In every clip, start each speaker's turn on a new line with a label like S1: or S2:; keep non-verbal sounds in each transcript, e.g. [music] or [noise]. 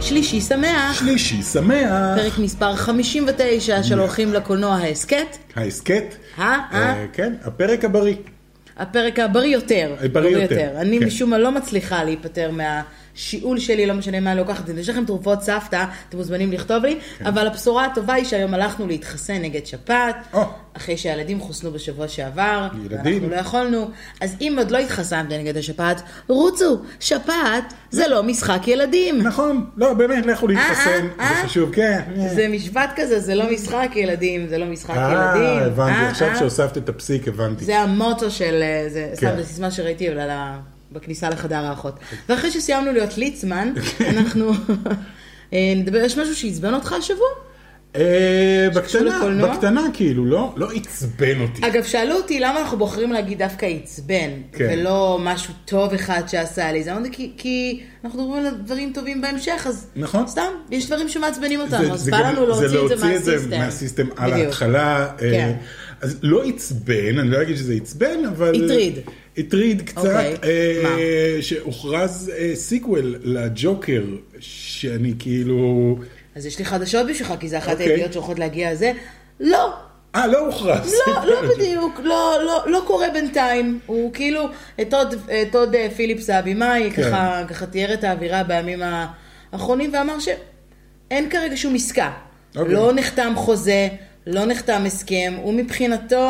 S1: שלישי שמח,
S2: שלישי שמח.
S1: פרק מספר 59 של הולכים לקולנוע ההסכת,
S2: ההסכת.
S1: אה, אה.
S2: אה, כן, הפרק הבריא.
S1: הפרק הבריא יותר.
S2: הבריא אה, יותר,
S1: אני
S2: כן.
S1: משום מה לא מצליחה להיפטר מהשיעול שלי, לא משנה מה אני לוקחת. אם יש לכם תרופות סבתא, אתם מוזמנים לכתוב לי,
S2: כן.
S1: אבל הבשורה הטובה היא שהיום הלכנו להתחסן נגד שפעת,
S2: או.
S1: אחרי שהילדים חוסנו בשבוע שעבר,
S2: ילדים.
S1: ואנחנו לא יכולנו. אז אם עוד לא התחסנתם נגד השפעת, רוצו, שפעת זה לא משחק ילדים.
S2: נכון, לא, באמת, לכו להתחסן,
S1: אה,
S2: זה
S1: אה.
S2: חשוב, כן.
S1: זה משפט כזה, זה לא משחק ילדים, זה לא משחק ילדים.
S2: אה, הבנתי,
S1: אה,
S2: עכשיו
S1: אה.
S2: שהוספת את הפסיק, הבנתי.
S1: זה המוטו של, אה, זה סתם
S2: כן.
S1: זו סיסמה שראיתי אבל על ה- בכניסה לחדר האחות.
S2: אוקיי.
S1: ואחרי שסיימנו להיות ליצמן, אנחנו אה, נדבר, יש משהו שעצבן אותך השבוע?
S2: אה,
S1: שקשור
S2: בקטנה,
S1: לקולנוע? אה,
S2: בקטנה כאילו, לא? לא עצבן אותי.
S1: אגב, שאלו אותי למה אנחנו בוחרים להגיד דווקא עצבן,
S2: כן.
S1: ולא משהו טוב אחד שעשה לי, זה אמרתי כי- כי אנחנו מדברים על דברים טובים בהמשך, אז
S2: נכון.
S1: סתם, יש דברים שמעצבנים אותנו,
S2: זה-
S1: אז
S2: זה
S1: בא
S2: גם-
S1: לנו להוציא את זה
S2: להוציא
S1: מהסיסטם.
S2: את זה מהסיסטם על
S1: בדיוק.
S2: ההתחלה. אה,
S1: כן.
S2: אז לא עצבן, אני לא אגיד שזה עצבן, אבל...
S1: הטריד.
S2: הטריד קצת,
S1: אוקיי,
S2: אה,
S1: מה?
S2: שהוכרז אה, סיקוול לג'וקר, שאני כאילו...
S1: אז יש לי חדשות בשבילך, כי זה אחת
S2: אוקיי.
S1: הידיעות שהולכות להגיע לזה. לא,
S2: אה, לא הוכרז.
S1: לא,
S2: סיקוול
S1: לא
S2: לג'וקר.
S1: בדיוק, לא, לא, לא קורה בינתיים. הוא כאילו, את עוד, את עוד אה, פיליפס האבימאי,
S2: כן.
S1: ככה, ככה תיאר את האווירה בימים האחרונים, ואמר שאין כרגע שום עסקה.
S2: אוקיי.
S1: לא נחתם חוזה, לא נחתם הסכם, הוא מבחינתו,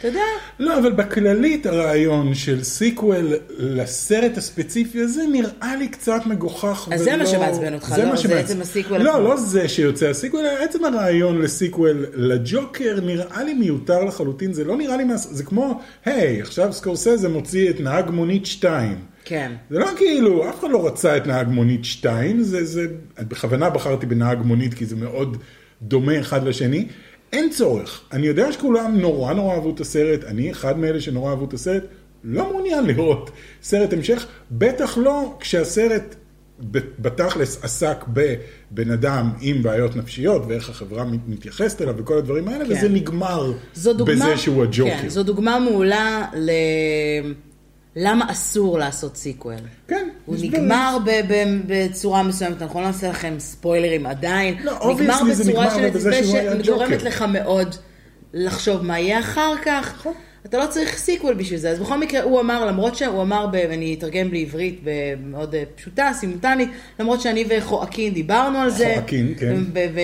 S1: אתה יודע,
S2: לא, אבל בכללית הרעיון של סיקוול לסרט הספציפי הזה נראה לי קצת מגוחך.
S1: אז זה
S2: ולא-
S1: מה שמעצבן אותך, לא?
S2: מה
S1: זה
S2: שמעצ-
S1: עצם הסיקוול עצמו.
S2: לא, לא זה שיוצא הסיקוול, אלא עצם הרעיון לסיקוול לג'וקר נראה לי מיותר לחלוטין, זה לא נראה לי, מה... זה כמו, היי, עכשיו סקורסזה מוציא את נהג מונית 2.
S1: כן.
S2: זה לא כאילו, אף אחד לא רצה את נהג מונית 2, זה, זה, בכוונה בחרתי בנהג מונית כי זה מאוד דומה אחד לשני. אין צורך. אני יודע שכולם נורא נורא אהבו את הסרט, אני אחד מאלה שנורא אהבו את הסרט, לא מעוניין לראות סרט המשך, בטח לא כשהסרט ב- בתכלס עסק בבן אדם עם בעיות נפשיות ואיך החברה מת- מתייחסת אליו וכל הדברים האלה,
S1: כן.
S2: וזה נגמר
S1: זו דוגמה,
S2: בזה שהוא הג'וקר.
S1: כן, זו דוגמה מעולה ל... למה אסור לעשות סיקוול.
S2: כן,
S1: הוא
S2: יש
S1: נגמר ב- ב- בצורה מסוימת, אנחנו לא נעשה לכם ספוילרים עדיין.
S2: לא,
S1: נגמר
S2: obviously זה
S1: בצורה
S2: נגמר, אבל בזה
S1: עצבן
S2: שהוא היה
S1: שגורמת
S2: ג'וקר.
S1: לך מאוד לחשוב מה יהיה אחר כך.
S2: נכון.
S1: אתה לא צריך סיקוול בשביל זה. אז בכל מקרה, הוא אמר, למרות שהוא אמר, ב- אני אתרגם לעברית מאוד אה, פשוטה, סימולטנית, למרות שאני וחואקין דיברנו על זה.
S2: חואקין, כן.
S1: ו- ו-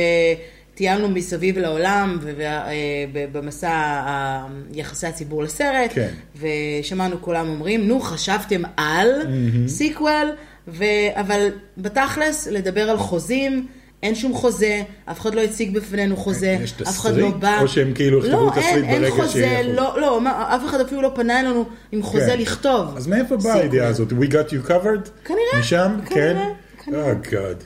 S1: טיילנו מסביב לעולם אה, ובמסע יחסי הציבור לסרט,
S2: כן.
S1: ושמענו כולם אומרים, נו, חשבתם על סיקוול, ו- אבל בתכלס, לדבר על חוזים, אין שום חוזה, אף אחד לא הציג בפנינו חוזה,
S2: יש
S1: אף אחד לא
S2: תסריט?
S1: בא.
S2: או שהם כאילו יכתבו
S1: לא, אין,
S2: תסריט
S1: אין
S2: ברגע
S1: חוזה,
S2: שיהיה
S1: לא, לא, מה, אף אחד אפילו לא פנה אלינו עם חוזה
S2: כן.
S1: לכתוב.
S2: אז מאיפה באה
S1: סיקוול.
S2: הידיעה הזאת? We got you covered?
S1: כנראה,
S2: משם?
S1: כנראה,
S2: כן?
S1: כנראה.
S2: Oh God.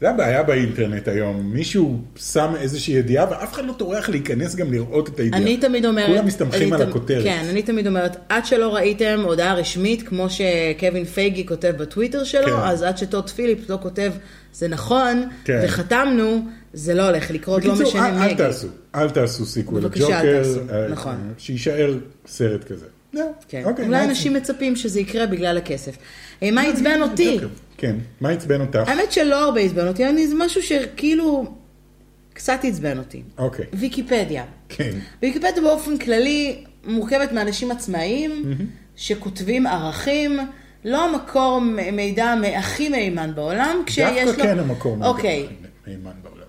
S2: זה הבעיה באינטרנט היום. מישהו שם איזושהי ידיעה ואף אחד לא טורח להיכנס גם לראות את הידיעה.
S1: אני תמיד אומרת...
S2: כולם מסתמכים
S1: אני
S2: על
S1: תמ-
S2: הכותרת.
S1: כן, אני תמיד אומרת, עד שלא ראיתם הודעה רשמית, כמו שקווין פייגי כותב בטוויטר שלו,
S2: כן.
S1: אז עד שטוד פיליפ לא כותב, זה נכון,
S2: כן.
S1: וחתמנו, זה לא הולך לקרות, לא
S2: בקיצור, אה,
S1: משנה
S2: אל
S1: מי
S2: אל
S1: יגיד.
S2: תעשו, אל תעשו סיקוול
S1: בבקשה, אל
S2: לג'וקר,
S1: תעשו.
S2: אה,
S1: נכון.
S2: שיישאר סרט כזה. זהו,
S1: כן.
S2: אוקיי,
S1: אולי
S2: מה-
S1: אנשים מצפים שזה יקרה בגלל הכסף. אה, מה עצבן אותי?
S2: ג'וקר. כן, מה עצבן אותך?
S1: האמת שלא הרבה עצבן אותי, אני- זה משהו שכאילו קצת עצבן אותי.
S2: אוקיי,
S1: ויקיפדיה.
S2: כן.
S1: ויקיפדיה באופן כללי מורכבת מאנשים עצמאיים שכותבים ערכים, לא המקור מ- מידע מ- הכי מהימן בעולם, כשיש לו...
S2: דווקא כן המקור מהדבר
S1: אוקיי,
S2: הכי מהימן בעולם.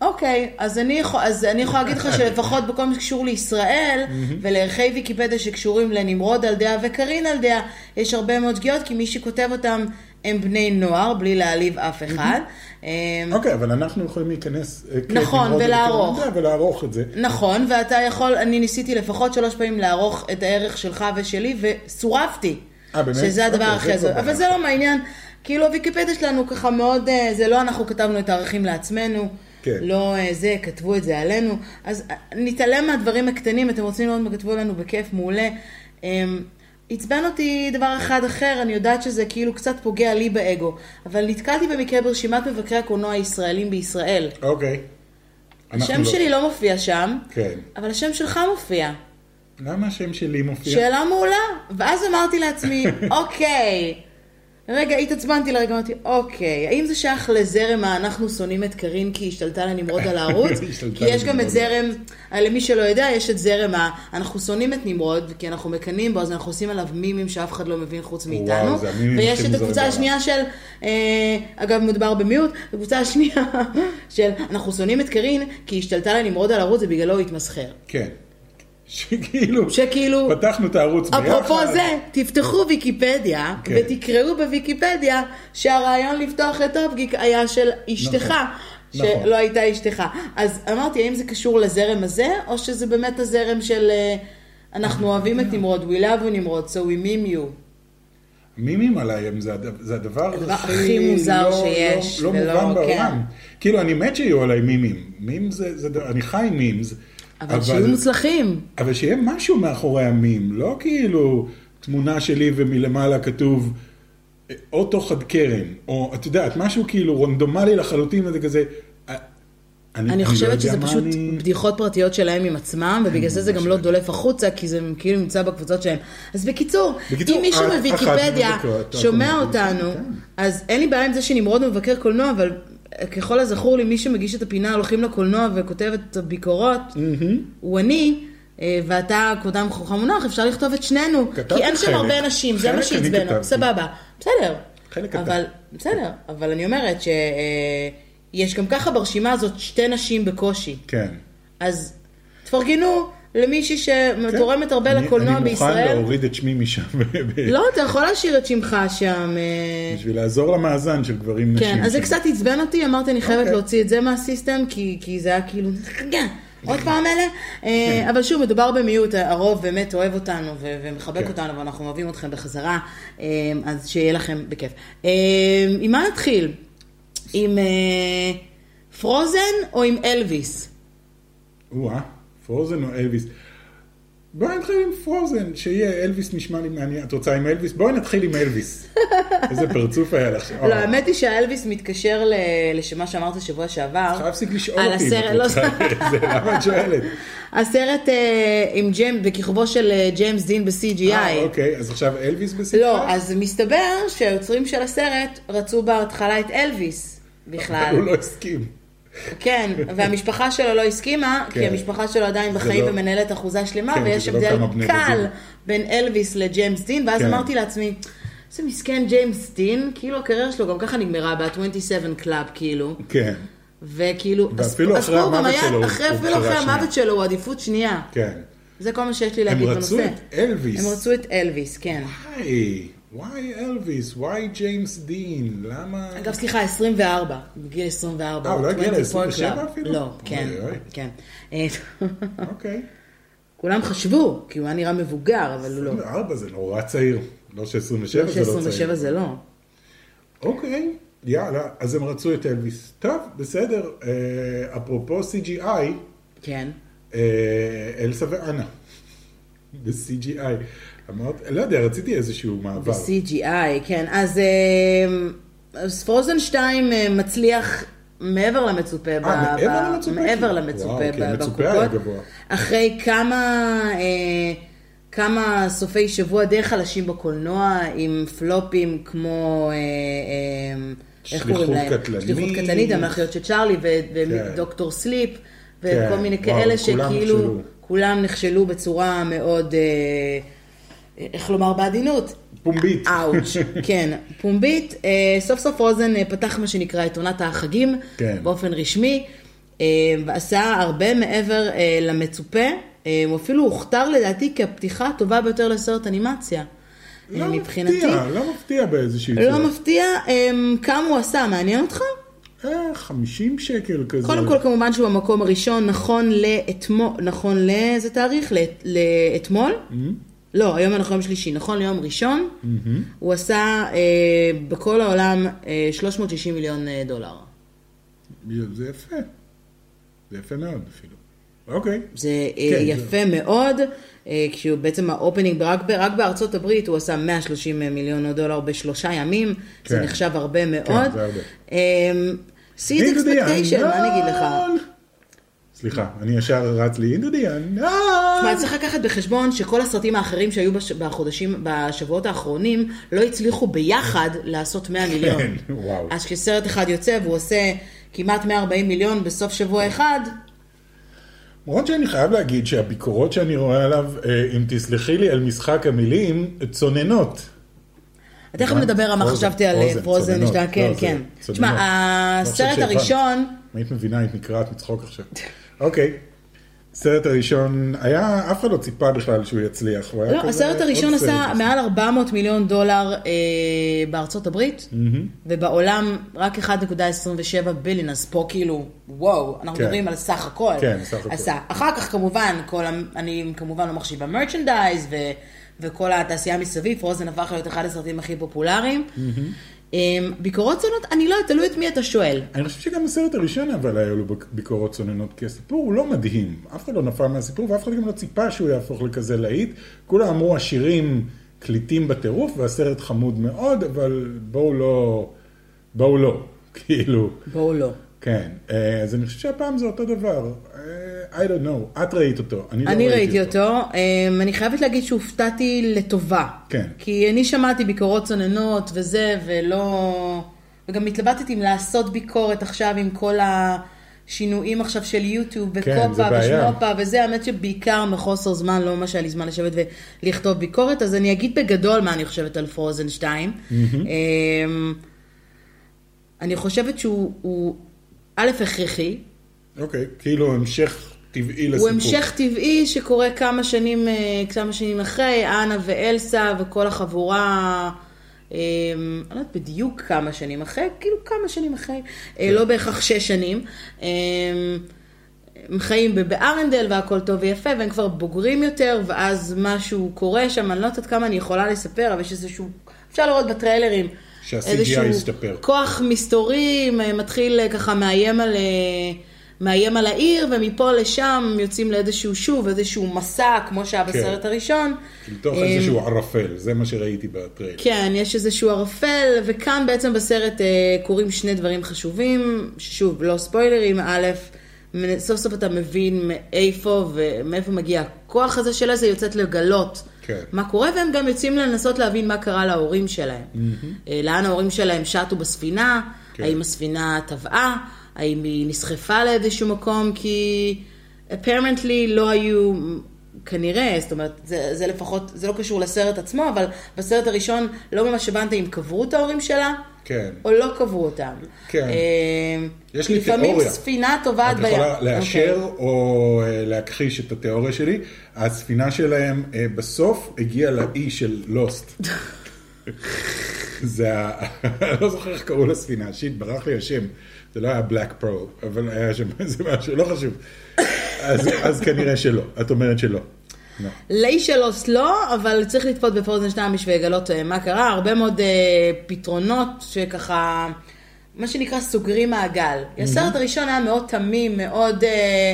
S1: אוקיי, אז אני, יכול, אז אני יכולה להגיד לך שלפחות בכל מה שקשור לישראל, ולערכי ויקיפדיה שקשורים לנמרוד על דעה וקרין על דעה, יש הרבה מאוד שגיאות, כי מי שכותב אותם הם בני נוער, בלי להעליב אף אחד. אמ,
S2: אוקיי, אבל אנחנו יכולים להיכנס... אה, כן,
S1: נכון,
S2: לראות את זה,
S1: ולערוך.
S2: כן, ולערוך את זה.
S1: נכון, ואתה יכול, אני ניסיתי לפחות שלוש פעמים לערוך את הערך שלך ושלי, וסורבתי.
S2: אה, באמת?
S1: שזה הדבר
S2: אוקיי,
S1: הכי
S2: זה
S1: הזוי.
S2: כבר
S1: אבל זה לא מהעניין. כאילו הוויקיפדיה שלנו ככה מאוד, אה, זה לא אנחנו כתבנו את הערכים לעצמנו.
S2: כן.
S1: לא אה, זה, כתבו את זה עלינו. אז אה, נתעלם מהדברים הקטנים, אתם רוצים לראות מה כתבו לנו בכיף, מעולה. אמ, עצבן אותי דבר אחד אחר, אני יודעת שזה כאילו קצת פוגע לי באגו, אבל נתקלתי במקרה ברשימת מבקרי הקולנוע הישראלים בישראל.
S2: אוקיי. אנחנו
S1: השם
S2: לא.
S1: שלי לא מופיע שם,
S2: כן.
S1: אבל השם שלך מופיע.
S2: למה השם שלי מופיע? [laughs]
S1: שאלה מעולה. ואז אמרתי לעצמי, אוקיי, רגע, התעצבנתי לרגע, אמרתי, אוקיי, האם זה שייך לזרם ה"אנחנו שונאים את קארין כי היא השתלטה לנמרוד על הערוץ"?
S2: [laughs] השתלטה
S1: כי יש גם
S2: לנמרוד.
S1: את זרם, אה, למי שלא יודע, יש את זרם ה- "אנחנו שונאים את נמרוד כי אנחנו מקנאים בו, אז אנחנו עושים עליו מימים שאף אחד לא מבין חוץ מאיתנו".
S2: זה המימים
S1: ויש
S2: הכי
S1: את
S2: מוזרים
S1: הקבוצה
S2: בעולם.
S1: השנייה של, אה, אגב, מדובר במיעוט, הקבוצה השנייה [laughs] של "אנחנו שונאים את קארין כי היא השתלטה לנמרוד על הערוץ ובגללו הוא התמסחר".
S2: כן. שכאילו,
S1: שכאילו-
S2: פתחנו את הערוץ ביחד.
S1: אפרופו זה, תפתחו ויקיפדיה
S2: כן.
S1: ותקראו בוויקיפדיה שהרעיון לפתוח את אופגיק היה של אשתך.
S2: נכון, נכון.
S1: שלא הייתה אשתך. אז אמרתי, האם זה קשור לזרם הזה, או שזה באמת הזרם של אה, אנחנו אוהבים את נמרוד, we love you נמרוד, so we meme you.
S2: מימים עליהם זה הד- זה הדבר
S1: הדבר הכי מוזר
S2: לא-
S1: שיש,
S2: לא, לא
S1: ולא-
S2: מובן בעולם.
S1: כן.
S2: כאילו, אני מת שיהיו עליי מימים. מים זה, זה, דבר- אני חי עם מימס.
S1: אבל שיהיו מוצלחים.
S2: אבל שיהיה משהו מאחורי המים, לא כאילו תמונה שלי ומלמעלה כתוב אה, אוטו חד קרן, או את יודעת, משהו כאילו רנדומלי לחלוטין, וזה כזה... אה,
S1: אני
S2: לא
S1: חושבת
S2: יודע
S1: שזה
S2: מה
S1: פשוט
S2: אני-
S1: בדיחות פרטיות שלהם עם עצמם, ובגלל זה זה גם לא דולף החוצה, כי זה כאילו נמצא בקבוצות שלהם. אז בקיצור,
S2: בקיצור,
S1: אם מישהו
S2: את- אחת
S1: מוויקיפדיה
S2: מבקרת, את
S1: שומע
S2: אומרת,
S1: אותנו,
S2: כן.
S1: אז אין לי בעיה עם זה שנמרוד מבקר קולנוע, אבל אה, ככל הזכור לי, מי שמגיש את הפינה הולכים לקולנוע וכותב את הביקורות, הוא אני. אה, ואתה קודם חוכם מונח, אפשר לכתוב את שנינו,
S2: כתבתי
S1: כי אין שם
S2: חלק.
S1: הרבה אנשים, זה מה
S2: חלק אני
S1: שעצבן,
S2: כתבתי.
S1: סבבה, בסדר.
S2: חלק קטן.
S1: אבל בסדר, אבל אני אומרת שיש גם ככה ברשימה הזאת שתי נשים בקושי.
S2: כן.
S1: אז תפרגנו למישהי שתורמת הרבה
S2: כן. אני-
S1: לקולנוע
S2: אני מוכן
S1: בישראל.
S2: להוריד את שמי משם, [laughs] ב- ב-
S1: לא, אתה יכול להשאיר את שמך שם. אה,
S2: בשביל לעזור למאזן של גברים נשים.
S1: כן, אז זה
S2: שם.
S1: קצת עצבן אותי, אמרתי, אני חייבת
S2: אוקיי. כן.
S1: להוציא את זה מהסיסטם, כי כי זה היה כאילו, רגע, עוד פעם אלה. אה, אבל שוב, מדובר במיעוט, הרוב באמת אוהב אותנו ו- ומחבק
S2: כן.
S1: אותנו, ואנחנו אוהבים אתכם בחזרה, אה, אז שיהיה לכם בכיף. אה, עם מה נתחיל? עם אה, פרוזן או עם אלוויס?
S2: או-אה, פרוזן או אלוויס? בואי נתחיל עם פרוזן, שיהיה אלוויס נשמע לי מעניין. את רוצה עם אלוויס? בואי נתחיל עם אלוויס.
S1: [laughs]
S2: איזה פרצוף היה לך. אה,
S1: לא, האמת היא שהאלוויס מתקשר ל- לשמה שאמרת שבוע שעבר.
S2: צריכה להפסיק לשאול
S1: על
S2: אותי. אם
S1: הסרט,
S2: את
S1: לא,
S2: רוצה את [laughs] זה, למה את
S1: [laughs]
S2: שואלת?
S1: הסרט אה, עם ג'יימס, בכיכובו של אה, ג'יימס דין ב-CGI.
S2: אה, אוקיי, אז עכשיו אלוויס בסרט?
S1: לא, אז מסתבר שהיוצרים של הסרט רצו בהתחלה את אלוויס בכלל.
S2: [laughs] הוא לא הסכים.
S1: כן, והמשפחה שלו לא הסכימה, כי
S2: כן.
S1: המשפחה שלו עדיין
S2: זה
S1: בחיים
S2: לא-
S1: ומנהלת אחוזה שלמה,
S2: כן,
S1: ויש
S2: כי זה לא
S1: הבדל
S2: כמה בני
S1: קל
S2: דודים.
S1: בין אלוויס לג'יימס דין, ואז
S2: כן.
S1: אמרתי לעצמי, איזה מסכן ג'יימס דין, כאילו הקריירה שלו גם ככה נגמרה ב-27 קלאב, כאילו.
S2: כן,
S1: וכאילו, אז-
S2: ואפילו
S1: אז
S2: אחרי
S1: הוא גם
S2: המוות
S1: היה-
S2: שלו הוא-
S1: אחרי-
S2: הוא
S1: אפילו אחרי
S2: בחירה
S1: המוות שלו הוא עדיפות שנייה.
S2: כן.
S1: זה כל מה שיש לי
S2: הם
S1: להגיד בנושא.
S2: רצו את אלוויס.
S1: הם רצו את אלוויס, כן.
S2: היי, וואי אלוויס? וואי ג'יימס דין? למה...
S1: אגב, סליחה, 24, בגיל 24.
S2: אה, הוא לא הגיע
S1: 24
S2: ל-27
S1: קלאב.
S2: אפילו?
S1: לא, כן,
S2: אוי, אוי.
S1: כן. אה, [laughs]
S2: אוקיי.
S1: כולם חשבו, כי הוא היה נראה מבוגר, אבל הוא לא.
S2: 24 זה נורא צעיר. לא ש-27 זה
S1: לא
S2: לא צעיר.
S1: ש-27 זה לא.
S2: אוקיי, יאללה, אז הם רצו את אלוויס. טוב, בסדר, אה, אפרופו CGI,
S1: כן.
S2: אה, אלסה ואנה. ב-CGI. אמרת, לא יודע, רציתי איזשהו מעבר.
S1: ב-CGI, כן. אז אמ, אז פרוזן 2 אמ, מצליח מעבר למצופה. ב-
S2: אה, מעבר
S1: ב-
S2: למצופה?
S1: מעבר
S2: כאילו.
S1: למצופה
S2: וואו, כן,
S1: ב-
S2: מצופה היה
S1: בקופות.
S2: גבוה.
S1: אחרי כמה... אה, כמה סופי שבוע די חלשים בקולנוע, עם פלופים כמו... אה, אה, איך
S2: שליחות
S1: קוראים להם?
S2: קטלנית.
S1: שליחות קטלנית, המלאכיות של צ'ארלי, ו-
S2: כן.
S1: ודוקטור סליפ,
S2: כן,
S1: וכל מיני
S2: וואו,
S1: כאלה
S2: כולם
S1: שכאילו...
S2: נכשלו.
S1: כולם נכשלו בצורה מאוד, אה, איך לומר בעדינות,
S2: פומבית. [laughs]
S1: אאוץ', כן, פומבית. אה, סוף סוף רוזן אה, פתח מה שנקרא את עונת החגים,
S2: כן.
S1: באופן רשמי, אה, ועשה הרבה מעבר אה, למצופה. אה, הוא אפילו הוכתר לדעתי כהפתיחה הטובה ביותר לסרט אנימציה. אה,
S2: לא
S1: מבחינתי.
S2: מפתיע, לא מפתיע באיזושהי
S1: לא מפתיע, אה, כמה הוא עשה, מעניין אותך?
S2: אה, 50 שקל כזה.
S1: קודם כל כמובן שהוא במקום הראשון נכון לאתמול, נכון לאיזה תאריך? לאת- לאתמול?
S2: Mm-hmm.
S1: לא, היום אנחנו יום שלישי, נכון ליום ראשון, הוא עשה אה, בכל העולם אה, 360 מיליון אה, דולר.
S2: זה יפה. זה יפה מאוד אפילו. אוקיי.
S1: זה אה,
S2: כן,
S1: יפה מאוד, אה, כשהוא בעצם האופנינג, רק, ב- רק בארצות הברית הוא עשה 130 מיליון דולר בשלושה ימים, זה
S2: כן.
S1: נחשב הרבה מאוד.
S2: זה הרבה.
S1: אה, see it
S2: Into the לא,
S1: expectation, מה אני אגיד לך?
S2: unknown. סליחה, אני ישר רץ לי, אינדודיאן,
S1: תשמע, צריך לקחת בחשבון שכל הסרטים האחרים שהיו בש... בחודשים, בשבועות האחרונים, לא הצליחו ביחד לעשות 100 מיליון.
S2: כן, וואו.
S1: אז כשסרט אחד יוצא והוא עושה כמעט 140 מיליון בסוף שבוע אחד,
S2: למרות שאני חייב להגיד שהביקורות שאני רואה עליו, אה, אם תסלחי לי, על משחק המילים, צוננות.
S1: תכף
S2: הבנתי.
S1: נדבר על מה
S2: פרוזן,
S1: חשבתי על אה,
S2: פרוזן,
S1: פרוזן,
S2: צוננות.
S1: שתיים, כן,
S2: לא, זה
S1: כן.
S2: צוננות.
S1: תשמע,
S2: לא חושב
S1: הסרט
S2: שהבנת.
S1: הראשון,
S2: אם היית מבינה, היית נקרעת מצחוק עכשיו. אוקיי. הסרט הראשון היה, אף אחד לא ציפה בכלל שהוא יצליח. הוא היה
S1: לא,
S2: כזה
S1: הסרט
S2: עוד
S1: הראשון
S2: סרט.
S1: עשה מעל 400 מיליון דולר אה, בארצות הברית, ובעולם רק 1.27 ביליון, אז פה כאילו, וואו, אנחנו
S2: כן.
S1: מדברים על סך הכל.
S2: כן, סך הכל.
S1: עשה. אחר כך כמובן, כל, ה- אני כמובן לא מחשיבה מרצ'נדייז ו, וכל התעשייה מסביב, פרוזן הפך להיות אחד הסרטים הכי פופולריים. אה, ביקורות שונות, אני לא, יודעת, תלוי את מי אתה שואל.
S2: אני חושב שגם הסרט הראשון אבל היו לו בק- ביקורות צוננות, כי הסיפור הוא לא מדהים. אף אחד לא נפל מהסיפור ואף אחד גם לא ציפה שהוא יהפוך לכזה להיט. כולם אמרו השירים קליטים בטירוף והסרט חמוד מאוד, אבל בואו לא, בואו לא, [laughs] כאילו.
S1: בואו לא.
S2: כן, אה, אז אני חושב שהפעם זה אותו דבר. אה, I don't know, את ראית אותו, אני לא
S1: אני ראיתי אותו, אמ, אני חייבת להגיד שהופתעתי לטובה.
S2: כן.
S1: כי אני שמעתי ביקורות צוננות וזה, ולא... וגם התלבטתי אם לעשות ביקורת עכשיו עם כל השינויים עכשיו של יוטיוב,
S2: כן, זה
S1: וקופה
S2: בעיה.
S1: ושמופה וזה, האמת שבעיקר מחוסר זמן, לא ממש היה לי זמן לשבת ולכתוב ביקורת, אז אני אגיד בגדול מה אני חושבת על פרוזן 2. אמ, אני חושבת שהוא, הוא, א', הכרחי,
S2: אוקיי, כאילו המשך טבעי לסיפור.
S1: הוא המשך טבעי שקורה כמה שנים, אה, כמה שנים אחרי, אנה ואלסה וכל החבורה, אה, אני לא יודעת בדיוק כמה שנים אחרי, כאילו כמה שנים אחרי, אה,
S2: כן.
S1: לא בהכרח שש שנים. אה, הם חיים ב- בארנדל והכל טוב ויפה, והם כבר בוגרים יותר, ואז משהו קורה שם, אני לא יודעת כמה אני יכולה לספר, אבל יש איזשהו, אפשר לראות בטריילרים.
S2: שה-CGI
S1: איזשהו
S2: הסתפר.
S1: כוח מסתורי אה, מתחיל אה, ככה מאיים על, אה, מאיים על העיר, ומפה לשם יוצאים לאיזשהו שוב, איזשהו מסע, כמו שהיה בסרט הראשון.
S2: כן. לתוך
S1: אה,
S2: איזשהו ערפל, זה מה שראיתי בטרייל.
S1: כן, יש איזשהו ערפל, וכאן בעצם בסרט אה, קורים שני דברים חשובים, ששוב, לא ספוילרים, א', מנ- סוף סוף אתה מבין מאיפה ומאיפה מגיע הכוח הזה של איזה, יוצאת לגלות
S2: כן.
S1: מה קורה, והם גם יוצאים לנסות להבין מה קרה להורים שלהם. אה, לאן ההורים שלהם שטו בספינה,
S2: כן.
S1: האם הספינה טבעה, האם היא נסחפה לאיזשהו מקום, כי apparently לא היו, כנראה, זאת אומרת, זה, זה לפחות, זה לא קשור לסרט עצמו, אבל בסרט הראשון לא ממש הבנת אם קברו את ההורים שלה.
S2: כן.
S1: או לא קברו אותם.
S2: כן.
S1: אה,
S2: יש לי
S1: לפעמים
S2: תיאוריה.
S1: ספינה טובעת
S2: את
S1: בים.
S2: יכולה לאשר
S1: אוקיי.
S2: או אה, להכחיש את התיאוריה שלי. הספינה שלהם אה, בסוף הגיעה לאי של לוסט. זה ה... [laughs] לא זוכר איך קראו לספינה, שיט, ברח לי השם. זה לא היה בלק פרו, אבל היה שם איזה משהו, לא חשוב. אז, אז כנראה שלא, את אומרת שלא. לא.
S1: לאיש של אוסט לא, אבל צריך לצפות בפרוזן 2 בשביל לגלות אה, מה קרה. הרבה מאוד אה, פתרונות שככה, מה שנקרא סוגרים מעגל. הסרט הראשון היה מאוד תמים, מאוד אה,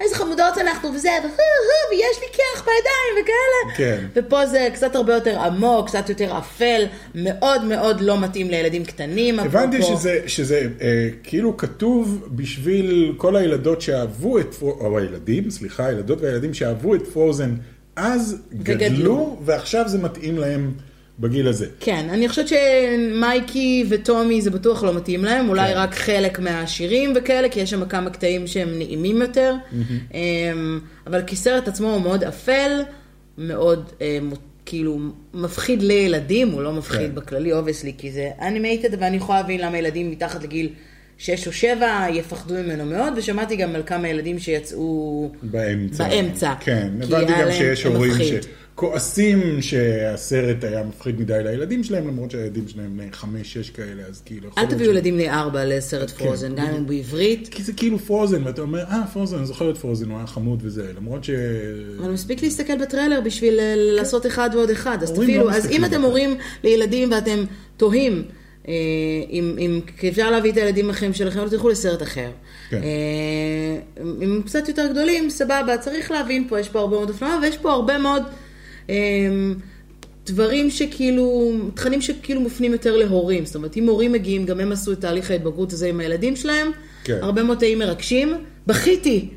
S1: איזה חמודות אנחנו וזה, והוא, הוא, ויש לי קרח בידיים וכאלה.
S2: כן.
S1: ופה זה קצת הרבה יותר עמוק, קצת יותר אפל, מאוד מאוד לא מתאים לילדים קטנים.
S2: הבנתי
S1: אפרופו.
S2: שזה, שזה אה, כאילו כתוב בשביל כל הילדות שאהבו את פרוזן, או הילדים, סליחה, הילדות והילדים שאהבו את פרוזן אז,
S1: וגדלו.
S2: גדלו, ועכשיו זה מתאים להם בגיל הזה.
S1: כן, אני חושבת שמייקי וטומי זה בטוח לא מתאים להם, אולי
S2: כן.
S1: רק חלק מהשירים וכאלה, כי יש שם כמה קטעים שהם נעימים יותר, אמ, אבל כסרט עצמו הוא מאוד אפל, מאוד אה, מו- כאילו מפחיד לילדים, הוא לא מפחיד
S2: כן.
S1: בכללי, אובייסלי, כי זה אנימייטד, ואני יכולה להבין למה ילדים מתחת לגיל 6 או 7 יפחדו ממנו מאוד, ושמעתי גם על כמה ילדים שיצאו...
S2: Mm-hmm. באמצע.
S1: באמצע.
S2: כן,
S1: כי
S2: הבנתי
S1: היה
S2: גם
S1: להם
S2: שיש הורים
S1: מפחיד.
S2: שכועסים שהסרט היה מפחיד מדי לילדים שלהם, למרות שהילדים שלהם בני חמש-שש כאלה, אז כאילו... יכול
S1: אל
S2: להיות
S1: תביאו
S2: ש-
S1: ילדים בני 4 לסרט
S2: כן.
S1: פרוזן, גם אם הוא בעברית.
S2: כי זה כאילו פרוזן, ואתה אומר, אה, פרוזן, אני זוכר את פרוזן, הוא היה חמוד וזה, למרות ש...
S1: אבל מספיק להסתכל בטריילר בשביל אה, לעשות אחד ועוד אחד, אז
S2: הורים
S1: תפעילו,
S2: לא
S1: אז אם
S2: מסתכלים
S1: אתם
S2: בטריילר.
S1: הורים לילדים ואתם תוהים, אה, אם אם- כי אפשר להביא את הילדים האחרים שלכם, לא תלכו לסרט אחר.
S2: כן.
S1: אה, אם הם קצת יותר גדולים, סבבה, צריך להבין פה, יש פה הרבה מאוד אופנוע, ויש פה הרבה מאוד אה, דברים שכאילו, תכנים שכאילו מופנים יותר להורים, זאת אומרת, אם הורים מגיעים, גם הם עשו את תהליך ההתבגרות הזה עם הילדים שלהם,
S2: כן.
S1: הרבה מאוד תאים מרגשים, בכיתי.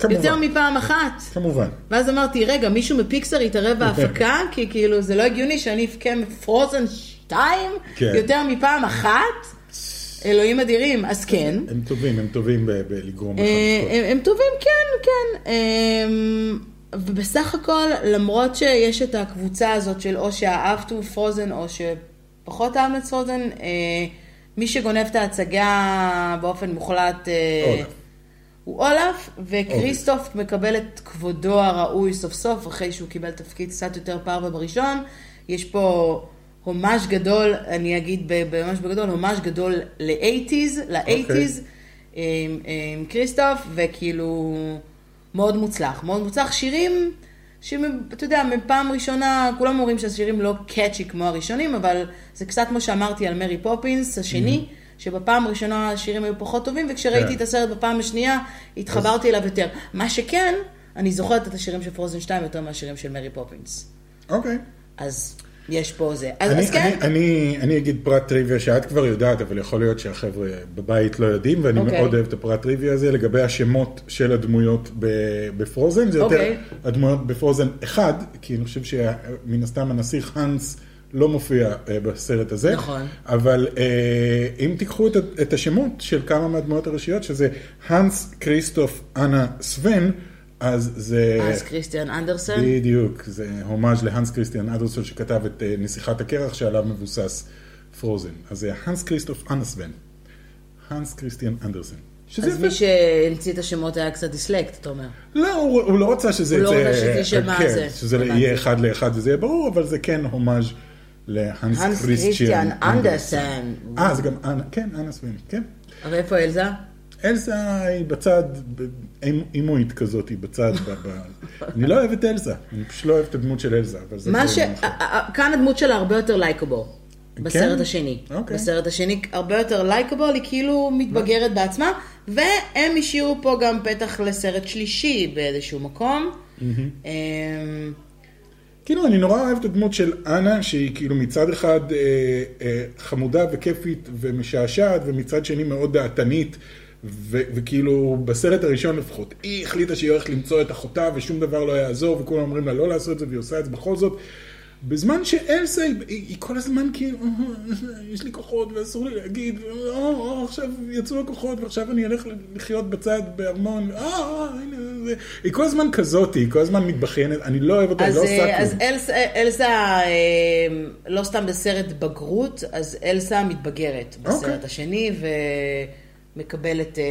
S2: כמובן.
S1: יותר מפעם אחת.
S2: כמובן.
S1: ואז אמרתי, רגע, מישהו מפיקסר יתערב בהפקה? כי כאילו, זה לא הגיוני שאני אבכה מפרוזן 2
S2: כן.
S1: יותר מפעם אחת? אלוהים אדירים, אז כן.
S2: הם טובים, הם טובים ב- בלגרום לך.
S1: אה, הם,
S2: לחשוב.
S1: הם טובים, כן, כן. אמ, ובסך הכל, למרות שיש את הקבוצה הזאת של או שאהבתו פרוזן או שפחות אהבנו את פרוזן, אה, מי שגונב את ההצגה באופן מוחלט אה,
S2: אולף.
S1: הוא אולף, וכריסטוף מקבל את כבודו הראוי סוף סוף, אחרי שהוא קיבל תפקיד קצת יותר פרווה בראשון. יש פה הומאז' גדול, אני אגיד ב- ממש בגדול, הומאז' גדול ל-80's, ל-80's. עם, עם כריסטוף, וכאילו מאוד מוצלח. מאוד מוצלח. שירים שאתה יודע, מפעם ראשונה, כולם אומרים שהשירים לא קאצ'י כמו הראשונים, אבל זה קצת כמו שאמרתי על מרי פופינס, השני, שבפעם הראשונה השירים היו פחות טובים, וכשראיתי
S2: כן.
S1: את הסרט בפעם השנייה, התחברתי אליו יותר. מה שכן, אני זוכרת את השירים של פרוזן 2 יותר מהשירים של מרי פופינס.
S2: אוקיי.
S1: אז יש פה זה. אז,
S2: אני,
S1: אז כן,
S2: אני, אני, אני אגיד פרט טריוויה שאת כבר יודעת, אבל יכול להיות שהחבר'ה בבית לא יודעים, ואני
S1: אוקיי.
S2: מאוד אוהב את הפרט טריוויה הזה לגבי השמות של הדמויות ב, בפרוזן. זה יותר
S1: אוקיי.
S2: הדמויות בפרוזן אחד, כי אני חושב שמן הסתם הנסיך האנס לא מופיע אה, בסרט הזה.
S1: נכון.
S2: אבל אה, אם תיקחו את, ה- את השמות של כמה מהדמויות הראשיות, שזה האנס, כריסטוף, אנה, סוון, אז זה...
S1: אז כריסטיאן אנדרסן.
S2: בדיוק, זה הומאז' להנס כריסטיאן אדרסון שכתב את אה, נסיכת הקרח שעליו מבוסס פרוזן. אז זה הנס כריסטוף אנסבן. הנס כריסטיאן אנדרסן. שזה
S1: אז
S2: יפה.
S1: מי שהמציא את השמות היה קצת דיסלקט, אתה אומר.
S2: לא, הוא, הוא לא רצה שזה
S1: הוא לא
S2: יצא-
S1: רצה שזה יישמע
S2: כן,
S1: זה.
S2: שזה
S1: הבנתי.
S2: יהיה אחד לאחד וזה יהיה ברור, אבל זה כן הומאז' להנס
S1: הנס כריסטיאן
S2: כריסטיאן
S1: אנדרסן.
S2: אה, זה גם אנה, כן, אנה סווין, כן.
S1: אבל איפה אלזה?
S2: אלסה היא בצד, ב- אימ- אימוית כזאת, היא בצד. ב- ב- אני לא אוהב את אלסה, אני פשוט לא אוהב את הדמות של אלסה, אבל זה...
S1: מה
S2: זה
S1: ש...
S2: עניין אחר.
S1: כאן הדמות שלה הרבה יותר לייקבור. בסרט השני.
S2: אוקיי.
S1: בסרט השני הרבה יותר לייקבול, היא כאילו מתבגרת בעצמה, והם השאירו פה גם פתח לסרט שלישי באיזשהו מקום. אמ,
S2: כאילו, אני נורא אוהב את הדמות של אנה, שהיא כאילו מצד אחד אה, אה, חמודה וכיפית ומשעשעת, ומצד שני מאוד דעתנית, ו- וכאילו, בסרט הראשון לפחות, היא החליטה שהיא הולכת למצוא את אחותה, ושום דבר לא יעזור, וכולם אומרים לה לא לעשות את זה, והיא עושה את זה בכל זאת. בזמן שאלסה, היא, היא היא כל הזמן כאילו, יש לי כוחות ואסור לי להגיד, או, או, עכשיו יצאו הכוחות ועכשיו אני אלך לחיות בצד בארמון, או, או, הנה, זה. היא כל הזמן כזאת, היא כל הזמן מתבכיינת, אני לא אוהב אותה, היא
S1: אז,
S2: לא עושה
S1: אה,
S2: כלום.
S1: אז אלסה, אלסה אמ, לא סתם בסרט בגרות, אז אלסה מתבגרת בסרט
S2: אוקיי.
S1: השני ומקבלת אה,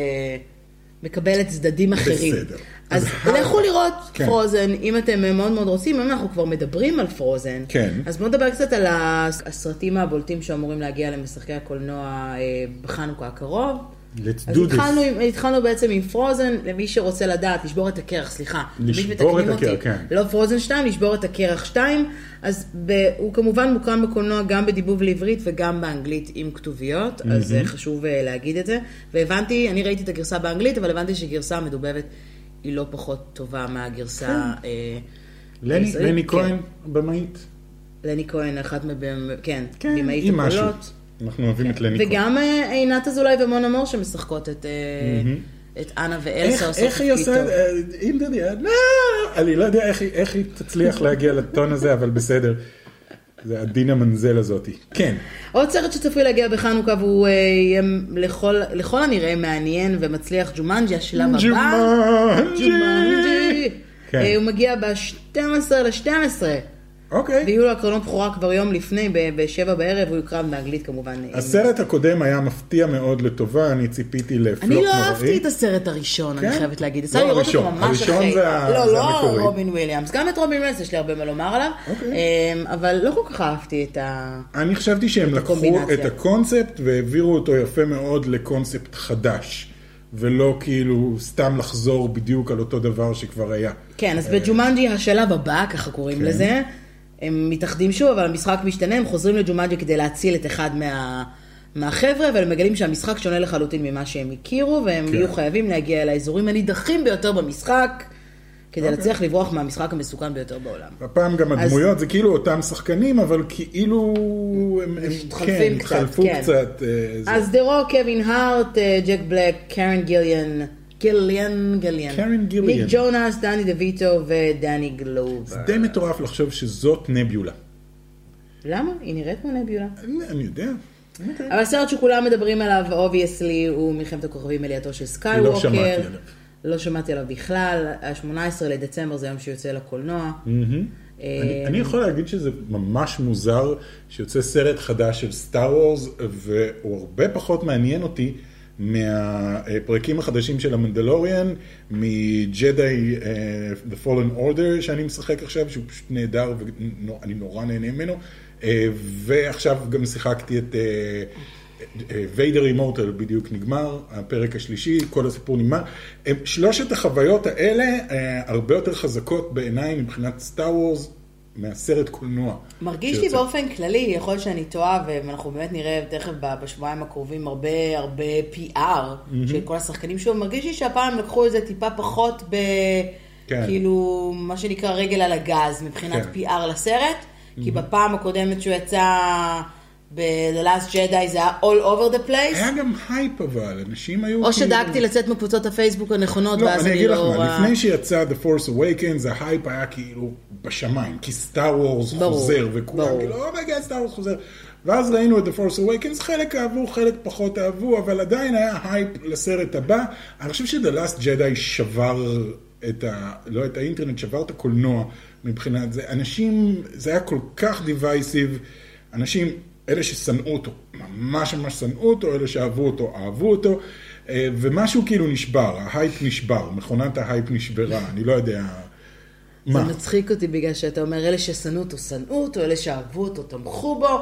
S1: מקבלת צדדים אחרים.
S2: בסדר.
S1: אז
S2: אז-
S1: לכו לראות
S2: כן.
S1: פרוזן, אם אתם אה, מאוד מאוד רוצים, אם אנחנו כבר מדברים על פרוזן,
S2: כן.
S1: אז בואו נדבר קצת על הס- הסרטים הבולטים שאמורים להגיע למשחקי הקולנוע אה, בחנוכה הקרוב.
S2: Let's
S1: אז
S2: do
S1: התחלנו,
S2: this.
S1: עם, התחלנו בעצם עם פרוזן, למי שרוצה לדעת, לשבור את הקרח, סליחה. תמיד
S2: לשבור
S1: מתקנים
S2: את הקרח,
S1: אותי.
S2: כן.
S1: לא פרוזן 2, לשבור את הקרח 2. אז ב... הוא כמובן מוקרן בקולנוע גם בדיבוב לעברית וגם באנגלית עם כתוביות, mm-hmm. אז אה, חשוב אה, להגיד את זה. והבנתי, אני ראיתי את הגרסה באנגלית, אבל הבנתי שגרסה המדובבת היא לא פחות טובה מהגרסה... אה,
S2: כן. לני,
S1: הישראלית.
S2: לני
S1: כן.
S2: כהן, במאית.
S1: לני כהן, אחת מבין, כן,
S2: כן,
S1: במאית
S2: היא משהו.
S1: הקולות.
S2: אנחנו אוהבים את לני כהן.
S1: וגם אה, עינת אזולאי ומונה מור שמשחקות את, אה, את אנה
S2: איך-
S1: ואלסה עושות
S2: איך היא
S1: תפקיד
S2: עושה אה, את
S1: טוב.
S2: זה? אני לא יודע איך היא- איך היא תצליח להגיע לטון הזה, אבל בסדר. זה עדינה מנזל הזאתי. כן.
S1: עוד סרט שצפוי להגיע בחנוכה והוא אה, יהיה לכל, לכל הנראה מעניין ומצליח, ג'ומנג'י, השלב הבא.
S2: ג'ומנג'י.
S1: ג'ומנג'י.
S2: כן.
S1: אה, הוא מגיע ב-12 ל-12,
S2: אוקיי.
S1: ויהיו לו הקרנות בכורה כבר יום לפני, ב-7 בערב, הוא יוקרן באנגלית כמובן. אה, עם-
S2: הסרט הקודם היה מפתיע מאוד לטובה, אני ציפיתי לפלופ
S1: אני
S2: נוראי.
S1: לא אהבתי את הסרט הראשון, אני
S2: כן?
S1: חייבת להגיד. יצא
S2: לא
S1: לי לראות
S2: הראשון.
S1: אותו ממש
S2: הראשון
S1: אחרי.
S2: זה ה-
S1: לא,
S2: זה
S1: לא
S2: המקורי.
S1: רובין וויליאמס. גם את רובין וויליאמס יש לי הרבה מה לומר עליו.
S2: אוקיי.
S1: אמ, אבל לא כל כך אהבתי את ה...
S2: אני חשבתי שהם לקחו
S1: הקומבינציה.
S2: את הקונספט והעבירו אותו יפה מאוד לקונספט חדש, ולא כאילו סתם לחזור בדיוק על אותו דבר שכבר היה.
S1: כן, אז
S2: אה,
S1: בג'ומנג'י השלב הבא, ככה
S2: כן.
S1: קוראים לזה, הם מתאחדים שוב, אבל המשחק משתנה, הם חוזרים לג'ומנג'י כדי להציל את אחד מה... מהחבר'ה, והם מגלים שהמשחק שונה לחלוטין ממה שהם הכירו, והם
S2: כן.
S1: יהיו חייבים להגיע אל האזורים הנידחים ביותר במשחק,
S2: אוקיי.
S1: כדי להצליח לברוח מהמשחק המסוכן ביותר בעולם.
S2: הפעם גם
S1: אז-
S2: הדמויות, זה כאילו אותם שחקנים, אבל כאילו הם, הם
S1: מתחלפים
S2: כן,
S1: קצת,
S2: התחלפו
S1: כן.
S2: קצת. אה, זה-
S1: אז דה רוק, קווין הארט, אה, ג'ק בלק, קרן גיליאן, גיליאן גיליאן.
S2: קרן גיליאן.
S1: ניק ג'ונס, דני דויטו ודני גלובר.
S2: זה די מטורף לחשוב שזאת נביולה.
S1: למה? היא נראית כמו נביולה.
S2: אני אני יודע.
S1: אבל הסרט שכולם מדברים עליו, אובייסלי, הוא מלחמת הכוכבים עלייתו של סקייווקר.
S2: לא שמעתי עליו.
S1: לא שמעתי עליו בכלל. ה-18 לדצמבר זה יום שיוצא לקולנוע. אה,
S2: אני, אני יכול להגיד שזה ממש מוזר שיוצא סרט חדש של סטאר וורס, והוא הרבה פחות מעניין אותי מהפרקים החדשים של המנדלוריאן, מג'די אה, The Fallen Order שאני משחק עכשיו, שהוא פשוט נהדר ואני נורא נהנה ממנו, אה, ועכשיו גם שיחקתי את... אה, ויידר אימורטל בדיוק נגמר, הפרק השלישי, כל הסיפור נגמר. הם- שלושת החוויות האלה אה, הרבה יותר חזקות בעיניי מבחינת סטאר וורס מהסרט קולנוע.
S1: מרגיש לי
S2: שיוצא.
S1: באופן כללי, יכול להיות שאני טועה, ואנחנו באמת נראה תכף ב- בשבועיים הקרובים הרבה הרבה PR של כל השחקנים שוב, מרגיש לי שהפעם לקחו את זה טיפה פחות ב...
S2: כן.
S1: כאילו, מה שנקרא רגל על הגז מבחינת
S2: כן.
S1: PR לסרט, כי בפעם הקודמת שהוא יצא ב-The Last Jedi זה היה all over the place,
S2: היה גם הייפ אבל, אנשים היו...
S1: או
S2: כאילו-
S1: שדאגתי לצאת מקבוצות הפייסבוק הנכונות,
S2: לא,
S1: ואז
S2: אני
S1: אני
S2: אגיד לך
S1: לא...
S2: מה,
S1: רואה-
S2: לפני שיצא The Force Awakens, ההייפ היה כאילו בשמיים, כי סטאר וורס
S1: ברור,
S2: חוזר, וכולם
S1: ברור.
S2: כאילו, אומייגד, סטאר וורס חוזר. ואז ראינו את The Force Awakens, חלק אהבו, חלק פחות אהבו, אבל עדיין היה הייפ לסרט הבא. אני חושב ש-The Last Jedi שבר את ה... לא את האינטרנט, שבר את הקולנוע מבחינת זה. אנשים, זה היה כל כך דיווייסיב, אנשים, אלה ששנאו אותו, ממש ממש שנאו אותו, אלה שאהבו אותו, אהבו אותו. אה, ומשהו כאילו נשבר, ההייפ נשבר, מכונת ההייפ נשברה, אני לא יודע מה.
S1: זה מצחיק אותי בגלל שאתה אומר, אלה ששנאו אותו, שנאו אותו, אלה שאהבו אותו, תמכו בו.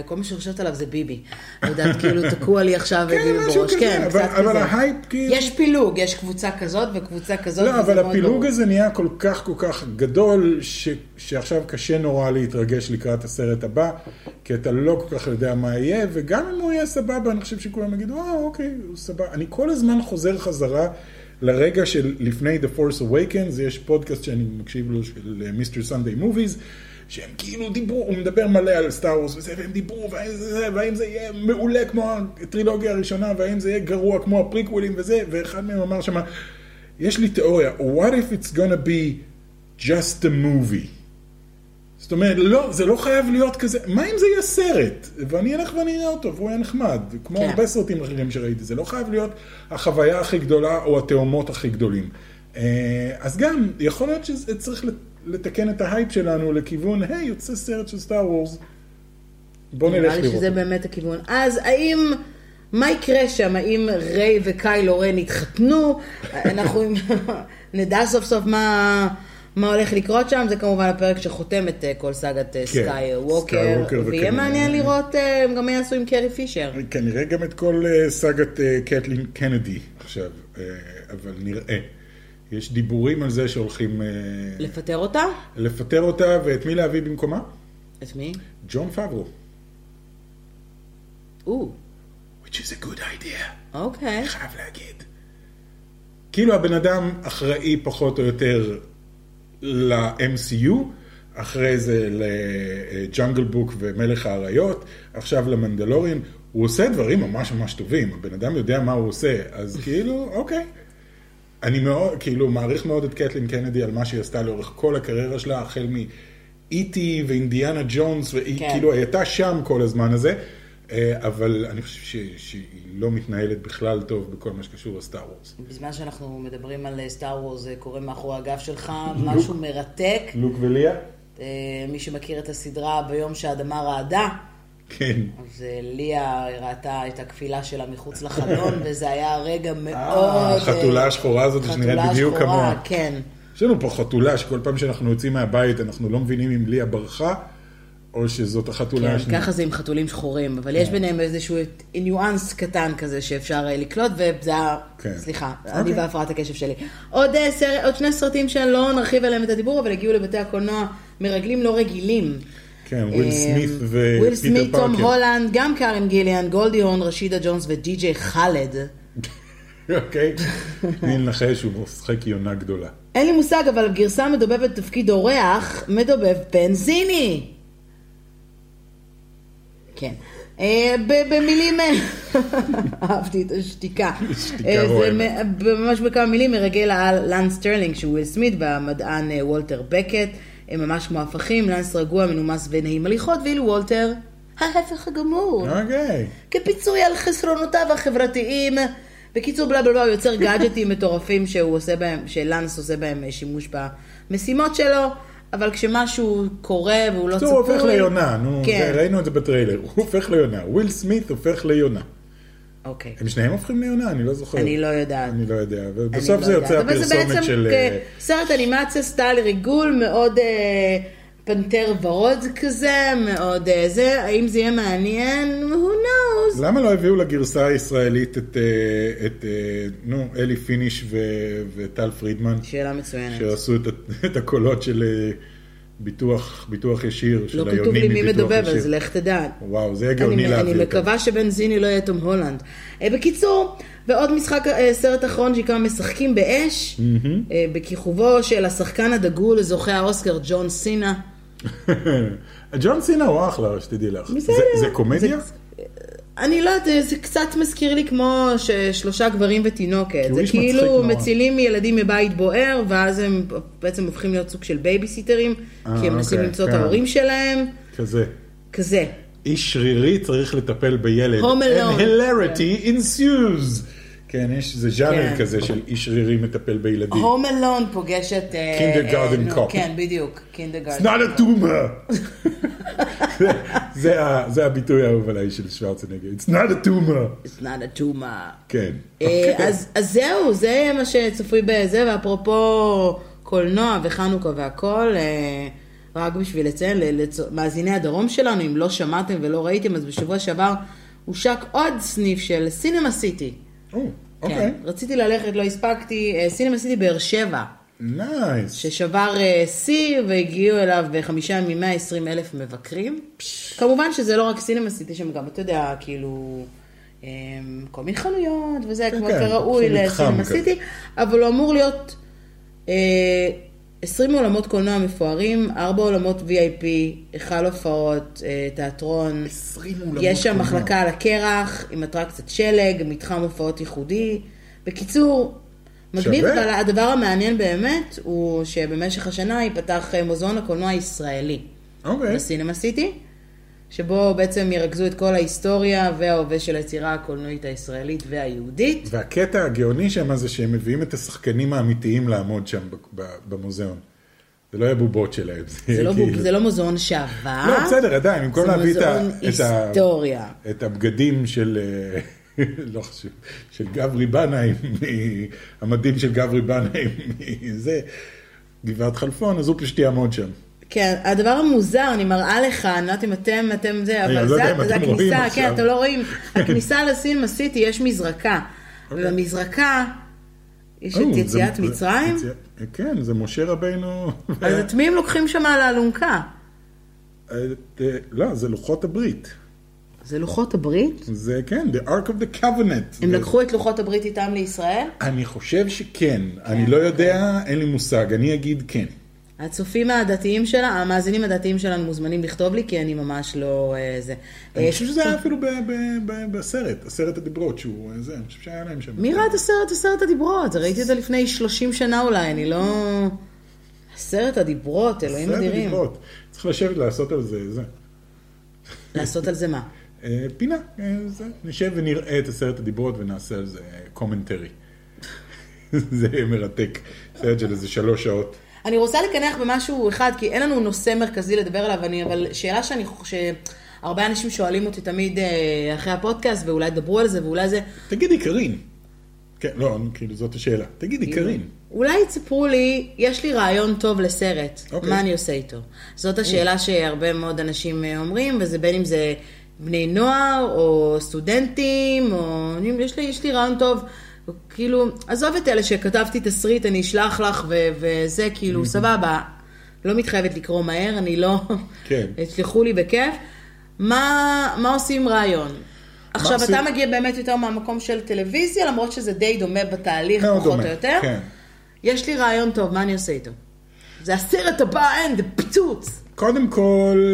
S1: וכל מה שחושבת עליו זה ביבי. אני יודעת, [laughs] כאילו, תקוע לי עכשיו
S2: כן,
S1: ביבי
S2: משהו
S1: בראש.
S2: כזה,
S1: כן,
S2: אבל-
S1: קצת כזה.
S2: אבל ההייפ כאילו-
S1: יש פילוג, יש קבוצה כזאת וקבוצה כזאת,
S2: לא,
S1: וזה
S2: אבל
S1: מאוד ברור.
S2: הפילוג הזה נהיה כל כך כל כך גדול, ש, שעכשיו קשה נורא להתרגש לקראת הסרט הבא, כי אתה לא כל כך יודע מה יהיה, וגם אם הוא יהיה סבבה, אני חושב שכולם יגידו, אה, אוקיי, הוא סבבה. אני כל הזמן חוזר חזרה לרגע של לפני The Force Awakens, יש פודקאסט שאני מקשיב לו של אה, מיסטר סנדיי מוביז. שהם כאילו דיברו, הוא מדבר מלא על סטאר וורס וזה, והם דיברו, והאם זה, זה, והאם זה יהיה מעולה כמו הטרילוגיה הראשונה, והאם זה יהיה גרוע כמו הפריקוולים וזה, ואחד מהם אמר שמה, יש לי תיאוריה, what if it's gonna be just a movie? זאת אומרת, לא, זה לא חייב להיות כזה, מה אם זה יהיה סרט? ואני אלך ואני אראה אותו, והוא יהיה נחמד, כמו
S1: כן.
S2: הרבה סרטים אחרים שראיתי, זה לא חייב להיות החוויה הכי גדולה או התאומות הכי גדולים. אה, אז גם, יכול להיות שצריך לתקן את ההייפ שלנו לכיוון, היי, יוצא סרט של סטאר וורס, בוא נלך
S1: נראה לי
S2: לראות.
S1: שזה באמת הכיוון. אז האם... מה יקרה שם? האם ריי וקיילו רן יתחתנו? אנחנו עם- [laughs] נדע סוף סוף מה, מה הולך לקרות שם. זה כמובן הפרק שחותם את אה, כל סאגת
S2: כן,
S1: סקאי
S2: סקאי
S1: ווקר.
S2: ווקר
S1: ויהיה
S2: וכן-
S1: מעניין לראות אה, הם גם מה יעשו עם קרי פישר.
S2: כנראה גם את כל אה, סאגת אה, קטלין קנדי עכשיו, אה, אבל נראה. יש דיבורים על זה שהולכים אה,
S1: לפטר אותה?
S2: לפטר אותה, ואת מי להביא במקומה?
S1: את מי?
S2: ג'ון פאברו.
S1: או,
S2: which is a good idea,
S1: אוקיי.
S2: אני חייב להגיד. כאילו הבן אדם אחראי פחות או יותר ל-MCU, אחרי זה לג'אנגל בוק ומלך האריות, עכשיו למנדלוריאן, הוא עושה דברים ממש ממש טובים, הבן אדם יודע מה הוא עושה, [laughs] אז כאילו, אוקיי. אני מאוד, כאילו, מעריך מאוד את קטלין קנדי על מה שהיא עשתה לאורך כל הקריירה שלה, החל מאיטי ואינדיאנה ג'ונס, והיא
S1: כן.
S2: כן. כאילו הייתה שם כל הזמן הזה, אה, אבל אני חושב ש- שהיא לא מתנהלת בכלל טוב בכל מה שקשור לסטאר וורס.
S1: בזמן שאנחנו מדברים על אה, סטאר וורז, קורה מאחורי הגב שלך משהו מרתק.
S2: לוק וליה?
S1: אה, מי שמכיר את הסדרה ביום שהאדמה רעדה,
S2: כן.
S1: אז אה, ליה ראתה את הכפילה שלה מחוץ לחלון,
S2: [laughs]
S1: וזה היה רגע מאוד...
S2: אה,
S1: אה,
S2: החתולה השחורה הזאת שנראית
S1: חתולה
S2: בדיוק
S1: שחורה,
S2: כמוה.
S1: כן.
S2: יש לנו פה חתולה שכל פעם שאנחנו יוצאים מהבית אנחנו לא מבינים אם ליה ברחה, או שזאת החתולה
S1: כן,
S2: השנייה.
S1: ככה זה עם חתולים שחורים, אבל
S2: כן.
S1: יש ביניהם איזשהו ניואנס קטן כזה שאפשר אה, לקלוט, וזה ה...
S2: כן.
S1: סליחה,
S2: אוקיי.
S1: אני והפרעת הקשב שלי. עוד אה, סרט- עוד שני סרטים שלא נרחיב עליהם את הדיבור, אבל הגיעו לבתי הקולנוע מרגלים לא רגילים.
S2: כן, וויל
S1: אה,
S2: סמית
S1: וויל
S2: ופיטר
S1: סמית, תום
S2: פארקר.
S1: הולנד, גם קארן גיליאן, גולדי הון, רשידה ג'ונס ודי.ג'יי חאלד.
S2: [laughs] אוקיי? אני לנחש, הוא משחק יונה גדולה.
S1: אין לי מושג, אבל גרסה מדובבת תפקיד אורח, מדובב בנזיני. כן. אה, ב- במילים, [laughs] אהבתי את השתיקה.
S2: שתיקה
S1: אה, זה
S2: רועמת.
S1: מ- ממש בכמה מילים מרגל העל לנס סטרלינג, שהוא וויל סמית והמדען אה, וולטר בקט, הם ממש כמו הפכים, לנס רגוע, מנומס ונעים הליכות, ואילו וולטר, ההפך הגמור.
S2: אוקיי.
S1: כפיצוי על חסרונותיו החברתיים. בקיצור, בלה בלה בלה, הוא יוצר גאדג'טים מטורפים שהוא עושה בהם, שלאנס עושה בהם אה, שימוש במשימות שלו, אבל כשמשהו קורה והוא לא צפוי...
S2: בקיצור, הוא הופך ליונה, נו,
S1: כן.
S2: זה- ראינו את זה בטריילר, הוא הופך ליונה, וויל סמית הופך ליונה.
S1: אוקיי.
S2: הם שניהם הופכים ליונה? אני לא זוכר.
S1: אני לא יודעת.
S2: אני לא יודע,
S1: אני
S2: ובסוף
S1: לא
S2: זה יוצא
S1: יודעת, אבל זה
S2: הפרסומת
S1: בעצם
S2: של... אה,
S1: כ- סרט אנימציה סטייל ריגול, מאוד אה, פנתר ורוד כזה, מאוד אה, זה, האם זה יהיה מעניין? Who knows?
S2: למה לא הביאו לגרסה הישראלית את, אה, את אה, נו, אלי פיניש ו, וטל פרידמן,
S1: שאלה מצוינת.
S2: שעשו את, ה- [laughs] את הקולות של אה, ביטוח, ביטוח ישיר, של
S1: לא
S2: היונים
S1: כתוב לי מי
S2: מביטוח
S1: מדובב,
S2: ישיר.
S1: אז לך תדע.
S2: וואו, זה יהיה גאוני
S1: אני, אני
S2: להביא אותה.
S1: מקווה שבנזיני לא יהיה תום הולנד. אה, בקיצור, בעוד משחק, אה, סרט אחרון שנקרא משחקים באש, אה, בכיכובו של השחקן הדגול, זוכה האוסקר, ג'ון סינה.
S2: [laughs] ג'ון סינה הוא אחלה, שתדעי לך.
S1: בסדר.
S2: זה, זה קומדיה?
S1: זה- אני לא יודעת, זה קצת מזכיר לי כמו ש- שלושה גברים ותינוקת.
S2: הוא
S1: זה
S2: איש מצחיק
S1: כאילו
S2: נורא.
S1: מצילים ילדים מבית בוער, ואז הם בעצם הופכים להיות סוג של בייביסיטרים,
S2: אה,
S1: כי הם מנסים
S2: אוקיי,
S1: למצוא את
S2: כן.
S1: ההורים שלהם,
S2: כזה.
S1: כזה.
S2: איש שרירי צריך לטפל בילד.
S1: Home Alone.
S2: And hilarity ensues. כן, יש איזה ז'אנר
S1: כן.
S2: כזה של איש שרירי מטפל בילדים.
S1: הום אלון פוגשת... אה,
S2: Kindergarten
S1: אה, נו,
S2: cop.
S1: כן, בדיוק, קינדרגרדן.
S2: It's not a tumor. [laughs] זה- זה ה- זה הביטוי האהוב עליי של שוורצנגר. It's not a tumor.
S1: It's not a tumor.
S2: כן.
S1: אה, אז אז זהו, זה מה שצפוי בזה, ואפרופו קולנוע וחנוכה והכל, אה, רק בשביל לציין, למאזיני הדרום שלנו, אם לא שמעתם ולא ראיתם, אז בשבוע שעבר הושק עוד סניף של סינמה סיטי.
S2: או,
S1: כן,
S2: אוקיי.
S1: רציתי ללכת, לא הספקתי, אה, סינמה סיטי באר שבע,
S2: נייס.
S1: ששבר אה, שיא והגיעו אליו בחמישה מ-120 אלף מבקרים. כמובן שזה לא רק סינמה סיטי, שם גם, אתה יודע, כאילו, אה, כל מיני חנויות וזה,
S2: כן,
S1: כמו
S2: כן,
S1: כראוי
S2: זה מתחם
S1: לסינמה
S2: כזה.
S1: סיטי, אבל הוא אמור להיות אה, 20 עולמות קולנוע מפוארים, 4 עולמות VIP, היכל הופעות, אה, תיאטרון.
S2: 20 אולמות
S1: יש שם
S2: קולנוע.
S1: מחלקה על הקרח, עם אטרקציית שלג, מתחם הופעות ייחודי. בקיצור, מגניב,
S2: שווה.
S1: אבל הדבר המעניין באמת, הוא שבמשך השנה ייפתח אה, מוזיאון הקולנוע הישראלי
S2: אוקיי.
S1: בסינמה סיטי, שבו בעצם ירכזו את כל ההיסטוריה וההווה של היצירה הקולנועית הישראלית
S2: אוקיי,
S1: והיהודית.
S2: והקטע הגאוני שם זה שהם מביאים את השחקנים האמיתיים לעמוד שם ב- ב- במוזיאון. זה לא יהיה בובות שלהם.
S1: זה
S2: יהיה
S1: לא,
S2: כאילו-
S1: בוב, זה לא מוזיאון שעבר,
S2: לא, בסדר, עדיין, במקום
S1: זה
S2: להביא את ה-
S1: מוזיאון
S2: את ה-
S1: היסטוריה.
S2: את הבגדים של, אה, [laughs] לא חשוב, של גברי בנאי, [laughs] מ- המדים של גברי בנאי, [laughs] זה, גבעת חלפון, אז הוא פשוט יעמוד שם.
S1: כן, הדבר המוזר, אני מראה לך, אני לא יודעת אם אתם, אתם זה, אבל
S2: לא יודע אם
S1: זה, זה
S2: אתם רואים
S1: הכניסה,
S2: עכשיו.
S1: כן, אתם לא רואים. הכניסה לסינמה סיטי, יש מזרקה. ובמזרקה יש
S2: אוקיי. או,
S1: את
S2: זה-
S1: יציאת
S2: זה-
S1: מצרים,
S2: יציאת- אה. כן, זה משה
S1: [laughs]
S2: רבנו.
S1: אז את מי הם לוקחים שם על האלונקה?
S2: את, אה, לא, זה לוחות הברית.
S1: זה לוחות הברית?
S2: זה כן, the ark of the covenant.
S1: הם
S2: זה-
S1: לקחו את לוחות הברית איתם לישראל?
S2: אני חושב שכן,
S1: כן.
S2: אני לא יודע, אין לי מושג, אני אגיד כן.
S1: הצופים הדתיים שלה, המאזינים הדתיים שלנו מוזמנים לכתוב לי, כי אני ממש לא אה, זה.
S2: אני
S1: אה,
S2: חושב שזה היה אפילו ב- ב- ב- בסרט, עשרת הדיברות שהוא, אה, זה, אני חושב שהיה להם שם.
S1: מי ראה את הסרט עשרת הדיברות? ראיתי את זה לפני 30 שנה אולי, אני לא... עשרת הדיברות, אלוהים
S2: עשרת
S1: אדירים.
S2: הדיברות. צריך לשבת לעשות על זה, זה.
S1: לעשות על זה מה?
S2: אה, פינה, אה, זה. נשב ונראה את עשרת הדיברות ונעשה על זה קומנטרי. [laughs] זה מרתק. סרט של איזה שלוש שעות.
S1: אני רוצה לקנח במשהו אחד, כי אין לנו נושא מרכזי לדבר עליו, אני, אבל שאלה שאני חושבת, שהרבה אנשים שואלים אותי תמיד אה, אחרי הפודקאסט, ואולי דברו על זה, ואולי זה...
S2: תגידי קארין. כן, לא, אני- כאילו זאת השאלה. תגידי
S1: כאילו,
S2: קארין.
S1: אולי תספרו לי, יש לי רעיון טוב לסרט,
S2: אוקיי. Mm.
S1: מה אני עושה איתו? זאת השאלה שהרבה מאוד אנשים אה, אומרים, וזה בין אם זה בני נוער, או סטודנטים, או אני- יש לי, יש לי רעיון טוב. כאילו, עזוב את אלה שכתבתי תסריט, אני אשלח לך, ו- וזה, כאילו,
S2: Mm-hmm.
S1: סבבה. לא מתחייבת לקרוא מהר, אני לא...
S2: [laughs] כן.
S1: תשלחו לי בכיף. מה, מה עושים רעיון? עכשיו,
S2: עושים?
S1: אתה מגיע באמת יותר מהמקום של טלוויזיה, למרות שזה די דומה בתהליך,
S2: מאוד
S1: פחות
S2: דומה,
S1: או יותר.
S2: כן.
S1: יש לי רעיון טוב, מה אני עושה איתו? זה הסרט הבא, אין, זה פיצוץ.
S2: קודם כל,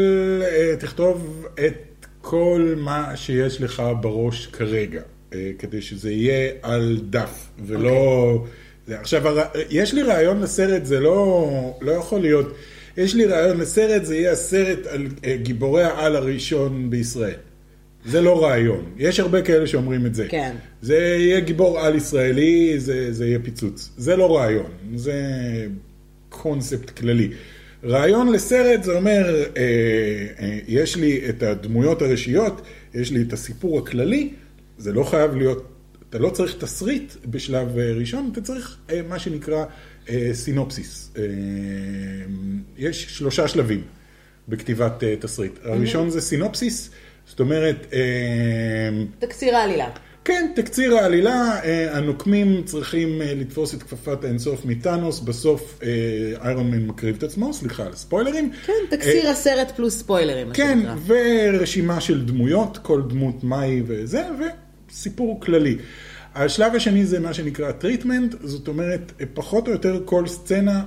S2: אה, תכתוב את כל מה שיש לך בראש כרגע, אה, כדי שזה יהיה על דף, ולא... זה- עכשיו, הר- יש לי רעיון לסרט, זה לא, לא יכול להיות. יש לי רעיון לסרט, זה יהיה הסרט על אה, גיבורי העל הראשון בישראל. זה לא רעיון. יש הרבה כאלה שאומרים את זה.
S1: כן.
S2: זה יהיה גיבור על ישראלי, זה, זה יהיה פיצוץ. זה לא רעיון, זה קונספט כללי. רעיון לסרט זה אומר, אה, אה, יש לי את הדמויות הראשיות, יש לי את הסיפור הכללי, זה לא חייב להיות, אתה לא צריך תסריט בשלב אה, ראשון, אתה צריך אה, מה שנקרא אה, סינופסיס. אה, יש שלושה שלבים בכתיבת אה, תסריט. הראשון זה סינופסיס, זאת אומרת, אה,
S1: תקציר העלילה.
S2: כן, תקציר העלילה, אה, הנוקמים צריכים אה, לתפוס את כפפת האינסוף מטאנוס, בסוף אה, איירון מן מקריב את עצמו, סליחה על הספוילרים.
S1: כן, תקציר הסרט פלוס ספוילרים, מה
S2: אה, כן,
S1: שנקרא.
S2: ורשימה של דמויות, כל דמות מהי וזה, וסיפור כללי. השלב השני זה מה שנקרא טריטמנט, זאת אומרת, אה, פחות או יותר כל סצנה,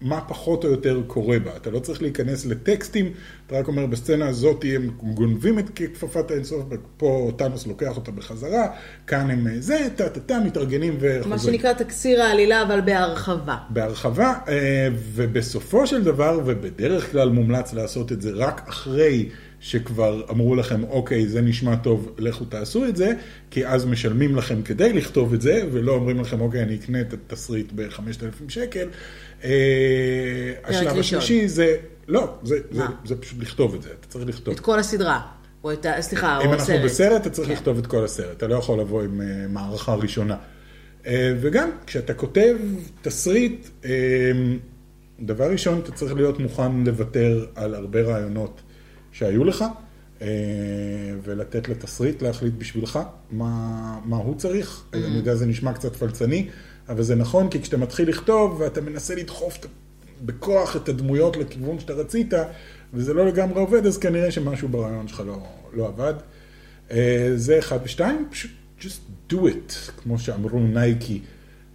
S2: מה פחות או יותר קורה בה. אתה לא צריך להיכנס לטקסטים, אתה רק אומר, בסצנה הזאת הם גונבים את כפפת האינסוף, פה טאנוס לוקח אותה בחזרה, כאן הם אה, זה, טה-טה-טה, מתארגנים וחוזרים.
S1: מה שנקרא תקציר העלילה, אבל בהרחבה.
S2: בהרחבה, אה, ובסופו של דבר, ובדרך כלל מומלץ לעשות את זה רק אחרי שכבר אמרו לכם, אוקיי, זה נשמע טוב, לכו תעשו את זה, כי אז משלמים לכם כדי לכתוב את זה, ולא אומרים לכם, אוקיי, אני אקנה את התסריט ב-5,000 שקל. אה, השלב
S1: ראשון.
S2: השלישי זה, לא, זה, זה,
S1: מה?
S2: זה פשוט לכתוב את זה, אתה צריך לכתוב.
S1: את כל הסדרה. או את ה... סליחה, או
S2: לא. אם
S1: הסרט.
S2: אנחנו בסרט, אתה צריך
S1: כן.
S2: לכתוב את כל הסרט, אתה לא יכול לבוא עם אה, מערכה ראשונה. אה, וגם, כשאתה כותב תסריט, אה, דבר ראשון, אתה צריך להיות מוכן לוותר על הרבה רעיונות שהיו לך, אה, ולתת לתסריט להחליט בשבילך מה, מה הוא צריך. אני יודע, זה נשמע קצת פלצני, אבל זה נכון, כי כשאתה מתחיל לכתוב ואתה מנסה לדחוף את- בכוח את הדמויות לכיוון שאתה רצית, וזה לא לגמרי עובד, אז כנראה שמשהו ברעיון שלך לא, לא עבד. אה, זה אחד ושתיים, פשוט just do it, כמו שאמרו נייקי.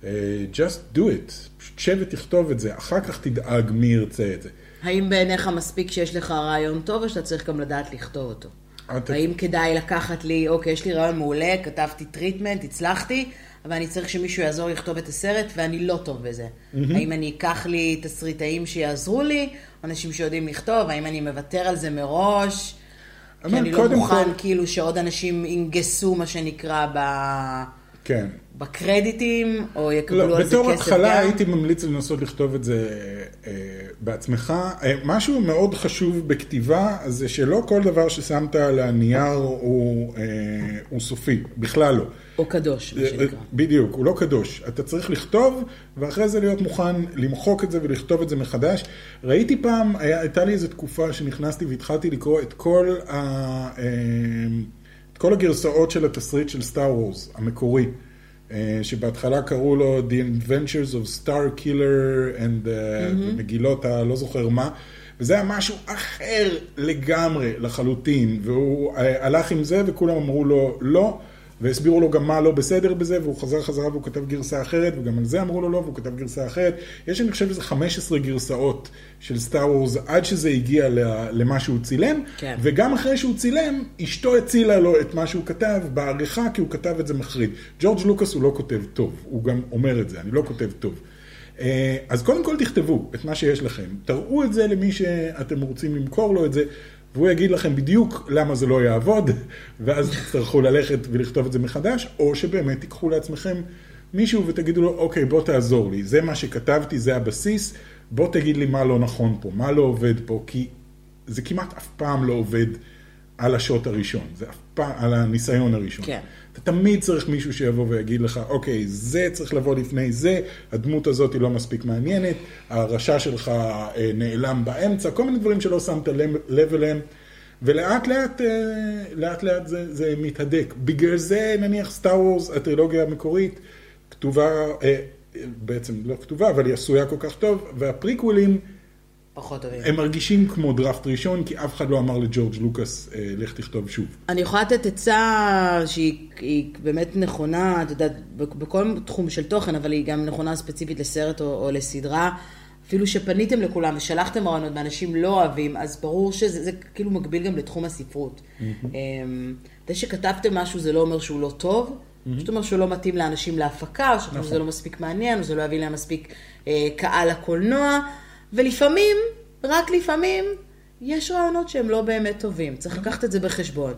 S2: אה, just do it, פשוט שב ותכתוב את זה, אחר כך תדאג מי ירצה את זה.
S1: האם בעיניך מספיק שיש לך רעיון טוב, או שאתה צריך גם לדעת לכתוב אותו?
S2: אתה-
S1: האם כדאי לקחת לי, אוקיי, יש לי רעיון מעולה, כתבתי טריטמנט, הצלחתי, אבל אני צריך שמישהו יעזור לכתוב את הסרט, ואני לא טוב בזה. האם אני אקח לי תסריטאים שיעזרו לי, אנשים שיודעים לכתוב, האם אני מוותר על זה מראש? כי
S2: אבל
S1: אני לא
S2: קודם
S1: מוכן,
S2: כל-
S1: כאילו, שעוד אנשים ינגסו, מה שנקרא, ב-
S2: כן.
S1: בקרדיטים, או יקבלו
S2: לא,
S1: על זה
S2: בתור
S1: כסף גם.
S2: התחלה הייתי ממליץ לנסות לכתוב את זה אה, בעצמך. אה, משהו מאוד חשוב בכתיבה זה שלא כל דבר ששמת על הנייר הוא, אה, הוא סופי, בכלל לא.
S1: או קדוש, מה שנקרא.
S2: בדיוק, הוא לא קדוש. אתה צריך לכתוב, ואחרי זה להיות מוכן למחוק את זה ולכתוב את זה מחדש. ראיתי פעם, היה, הייתה לי איזו תקופה שנכנסתי והתחלתי לקרוא את כל, ה, אה, את כל הגרסאות של התסריט של סטאר וורס, המקורי, אה, שבהתחלה קראו לו The Adventures of Star Killer and mm-hmm. מגילות הלא זוכר מה. וזה היה משהו אחר לגמרי לחלוטין, והוא אה, הלך עם זה וכולם אמרו לו לא, והסבירו לו גם מה לא בסדר בזה, והוא חזר חזרה והוא כתב גרסה אחרת, וגם על זה אמרו לו לא, והוא כתב גרסה אחרת. יש, אני חושב, איזה 15 גרסאות של סטאר וורז עד שזה הגיע ל- למה שהוא צילם,
S1: כן.
S2: וגם אחרי שהוא צילם, אשתו הצילה לו את מה שהוא כתב בעריכה, כי הוא כתב את זה מחריד. ג'ורג' לוקאס הוא לא כותב טוב, הוא גם אומר את זה, אני לא כותב טוב. אה, אז קודם כל תכתבו את מה שיש לכם, תראו את זה למי שאתם רוצים למכור לו את זה, והוא יגיד לכם בדיוק למה זה לא יעבוד, [laughs] ואז תצטרכו ללכת ולכתוב את זה מחדש, או שבאמת תיקחו לעצמכם מישהו ותגידו לו, אוקיי, בוא תעזור לי, זה מה שכתבתי, זה הבסיס, בוא תגיד לי מה לא נכון פה, מה לא עובד פה, כי זה כמעט אף פעם לא עובד על השוט הראשון, זה אף פעם, על הניסיון הראשון.
S1: כן.
S2: אתה תמיד צריך מישהו שיבוא ויגיד לך, אוקיי, זה צריך לבוא לפני זה, הדמות הזאת היא לא מספיק מעניינת, הרשע שלך אה, נעלם באמצע, כל מיני דברים שלא שמת לב- לב אליהם. ולאט לאט, אה, לאט לאט זה, זה מתהדק. בגלל זה נניח סטאר וורס, הטרילוגיה המקורית, כתובה, אה, בעצם לא כתובה, אבל היא עשויה כל כך טוב, והפריקוולים
S1: פחות טובים.
S2: הם מרגישים כמו דראפט ראשון, כי אף אחד לא אמר לג'ורג' לוקאס, אה, לך תכתוב שוב.
S1: אני יכולה לתת עצה שהיא היא באמת נכונה, את יודעת, ב- בכל תחום של תוכן, אבל היא גם נכונה ספציפית לסרט או, או לסדרה. אפילו שפניתם לכולם ושלחתם רעיונות ואנשים לא אוהבים, אז ברור שזה זה כאילו מקביל גם לתחום הספרות. אמ, זה שכתבתם משהו זה לא אומר שהוא לא טוב, פשוט אומר שהוא לא מתאים לאנשים להפקה, או שחושבים שזה לא מספיק מעניין, או שזה לא יביא להם מספיק אה, קהל לקולנוע, ולפעמים, רק לפעמים, יש רעיונות שהם לא באמת טובים, צריך לקחת את זה בחשבון.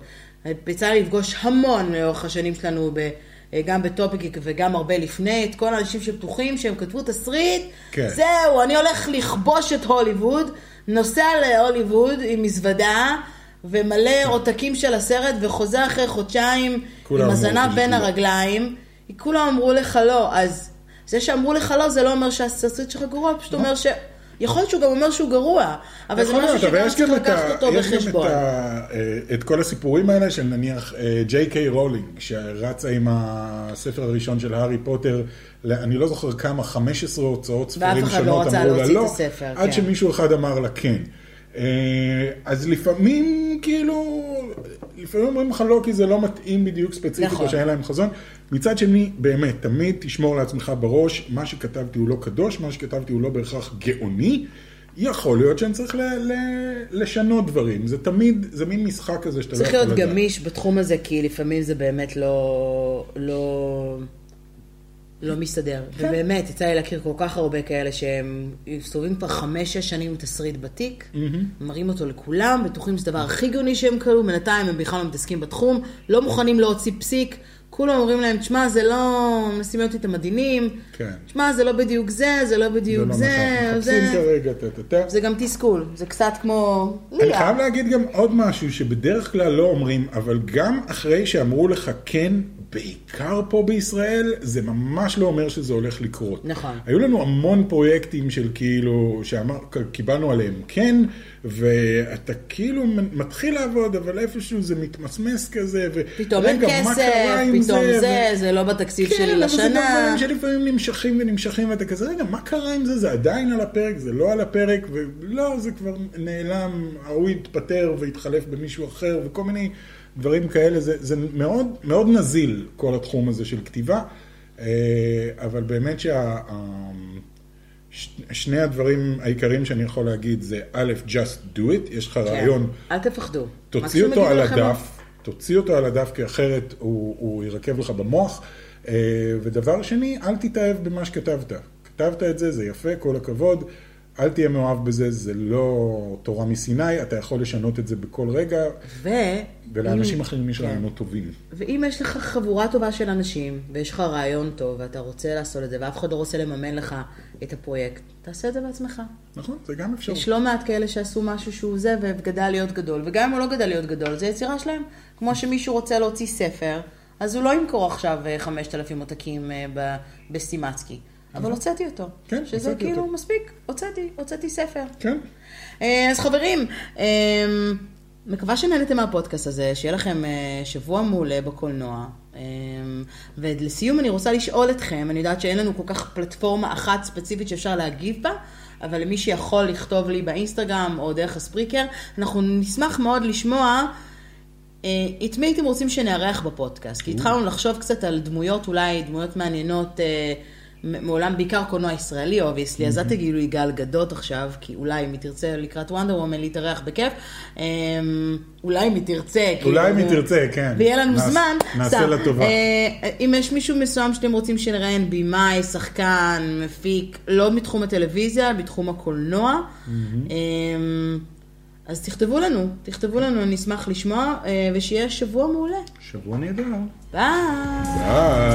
S1: יצא לי לפגוש המון לאורך השנים שלנו, ב, אה, גם בטופיק וגם הרבה לפני, את כל האנשים שפתוחים, שהם כתבו תסריט,
S2: כן.
S1: זה זהו, אני הולך לכבוש את הוליווד, נוסע להוליווד עם מזוודה ומלא עותקים של הסרט, וחוזר אחרי חודשיים
S2: כן. כולם
S1: עם
S2: אמרו
S1: הזנב
S2: לי
S1: בין
S2: לא.
S1: הרגליים. כולם אמרו לך לא, אז זה שאמרו לך לא, זה לא אומר שהסרט שלך גרוע, פשוט
S2: לא.
S1: אומר ש... יכול להיות שהוא גם אומר שהוא גרוע, אבל זה
S2: יכול
S1: משהו
S2: להיות, אבל
S1: שגם
S2: יש גם
S1: צריך
S2: את ה-
S1: לקחת אותו
S2: יש גם
S1: בחשבון.
S2: את ה- אה, את כל הסיפורים האלה של נניח אה, ג'יי קיי רולינג, שרצה עם הספר הראשון של הארי פוטר, ל- אני לא זוכר כמה, 15 הוצאות ספרים
S1: אחד לא
S2: שונות
S1: רצה
S2: אמרו לה
S1: להוציא את
S2: לא,
S1: הספר, כן.
S2: עד שמישהו אחד אמר לה כן. אה, אז לפעמים כאילו, לפעמים אומרים לך לא כי זה לא מתאים בדיוק ספציפית
S1: נכון.
S2: או שאין להם חזון. מצד שני, באמת, תמיד תשמור לעצמך בראש, מה שכתבתי הוא לא קדוש, מה שכתבתי הוא לא בהכרח גאוני. יכול להיות שאני צריך ל- ל- לשנות דברים, זה תמיד, זה מין משחק כזה שאתה לא
S1: צריך
S2: יכול לדעת.
S1: להיות גמיש בתחום הזה, כי לפעמים זה באמת לא... לא... לא מסתדר.
S2: כן.
S1: ובאמת, יצא לי להכיר כל כך הרבה כאלה שהם מסתובבים כבר חמש-שש שנים עם תסריט בתיק, מראים אותו לכולם, בטוחים שזה הדבר הכי גאוני שהם קראו, בינתיים הם בכלל לא מתעסקים בתחום, לא מוכנים להוציא פסיק, כולם אומרים להם, תשמע, זה לא... מנסים להיות איתם עדינים,
S2: כן.
S1: תשמע, זה לא בדיוק זה, זה לא
S2: זה
S1: בדיוק
S2: לא
S1: זה,
S2: נכון.
S1: זה...
S2: מחפשים כרגע, טה-טה-טה.
S1: זה גם תסכול, זה קצת כמו...
S2: אני חייב להגיד גם עוד משהו שבדרך כלל לא אומרים, אבל גם אחרי שאמרו לך כן, בעיקר פה בישראל, זה ממש לא אומר שזה הולך לקרות.
S1: נכון.
S2: היו לנו המון פרויקטים של כאילו, שקיבלנו עליהם כן, ואתה כאילו מתחיל לעבוד, אבל איפשהו זה מתמסמס כזה, ו...
S1: פתאום אין
S2: "רגע, מה
S1: כסף,
S2: קרה עם
S1: פתאום
S2: ו-
S1: זה, זה לא בתקציב שלי
S2: כן, אבל זה גם
S1: לשנה.
S2: דברים שלפעמים נמשכים ונמשכים, ואתה כזה, רגע, מה קרה עם זה? זה עדיין על הפרק, זה לא על הפרק, ולא, זה כבר נעלם, ההוא התפטר והתחלף במישהו אחר, וכל מיני דברים כאלה. זה, זה מאוד, מאוד נזיל, כל התחום הזה של כתיבה, אה, אבל באמת שה... ה- ש- שני הדברים העיקריים שאני יכול להגיד זה, א', just do it, יש לך רעיון.
S1: כן. אל תפחדו.
S2: תוציא
S1: מקסימום
S2: אותו
S1: יגידו
S2: על
S1: לכם,
S2: הדף, תוציא אותו על הדף, כי אחרת הוא, הוא ירקב לך במוח. אה, ודבר שני, אל תתאהב במה שכתבת. כתבת את זה, זה יפה, כל הכבוד. אל תהיה מאוהב בזה, זה לא תורה מסיני, אתה יכול לשנות את זה בכל רגע,
S1: ו...
S2: ולאנשים אחרים יש
S1: כן.
S2: רעיונות טובים.
S1: ואם יש לך חבורה טובה של אנשים, ויש לך רעיון טוב, ואתה רוצה לעשות את זה, ואף אחד לא רוצה לממן לך את הפרויקט, תעשה את זה בעצמך.
S2: נכון? זה גם אפשרות.
S1: יש לא מעט כאלה שעשו משהו שהוא זה, וגדל להיות גדול. וגם אם הוא לא גדל להיות גדול, זה יצירה שלהם. כמו שמישהו רוצה להוציא ספר, אז הוא לא ימכור עכשיו אה, 5,000 עותקים אה, ב- בסטימצקי. אבל הוצאתי אותו.
S2: כן,
S1: שזה
S2: הוצאתי
S1: כאילו
S2: אותו.
S1: מספיק, הוצאתי, הוצאתי ספר.
S2: כן?
S1: אה, אז חברים, אה, מקווה שנהנתם מהפודקאסט הזה, שיהיה לכם אה, שבוע מעולה בקולנוע. אה, ולסיום אני רוצה לשאול אתכם, אני יודעת שאין לנו כל כך פלטפורמה אחת ספציפית שאפשר להגיב בה, אבל למי שיכול לכתוב לי באינסטגרם או דרך הספריקר, אנחנו נשמח מאוד לשמוע אה, את מי הייתם רוצים שנארח בפודקאסט? כי התחלנו לחשוב קצת על דמויות, אולי דמויות מעניינות אה, מ- מעולם, בעיקר קולנוע ישראלי, אובייסלי, אז אל תגידו לי גל גדות עכשיו, כי אולי אם היא תרצה לקראת וונדר וומן להתארח בכיף, אה, אולי אם היא תרצה,
S2: אולי אם היא
S1: אה,
S2: תרצה, כן.
S1: ויהיה לנו
S2: נעש-
S1: זמן,
S2: נעשה
S1: סתם.
S2: לה טובה.
S1: אה, אם יש מישהו מסוים שאתם רוצים שנראיין, בימאי, שחקן, מפיק, לא מתחום הטלוויזיה, בתחום הקולנוע, אה, אז תכתבו לנו, תכתבו לנו, אני אשמח לשמוע, אה, ושיהיה שבוע מעולה.
S2: שבוע נהדר.
S1: ביי!
S2: ביי.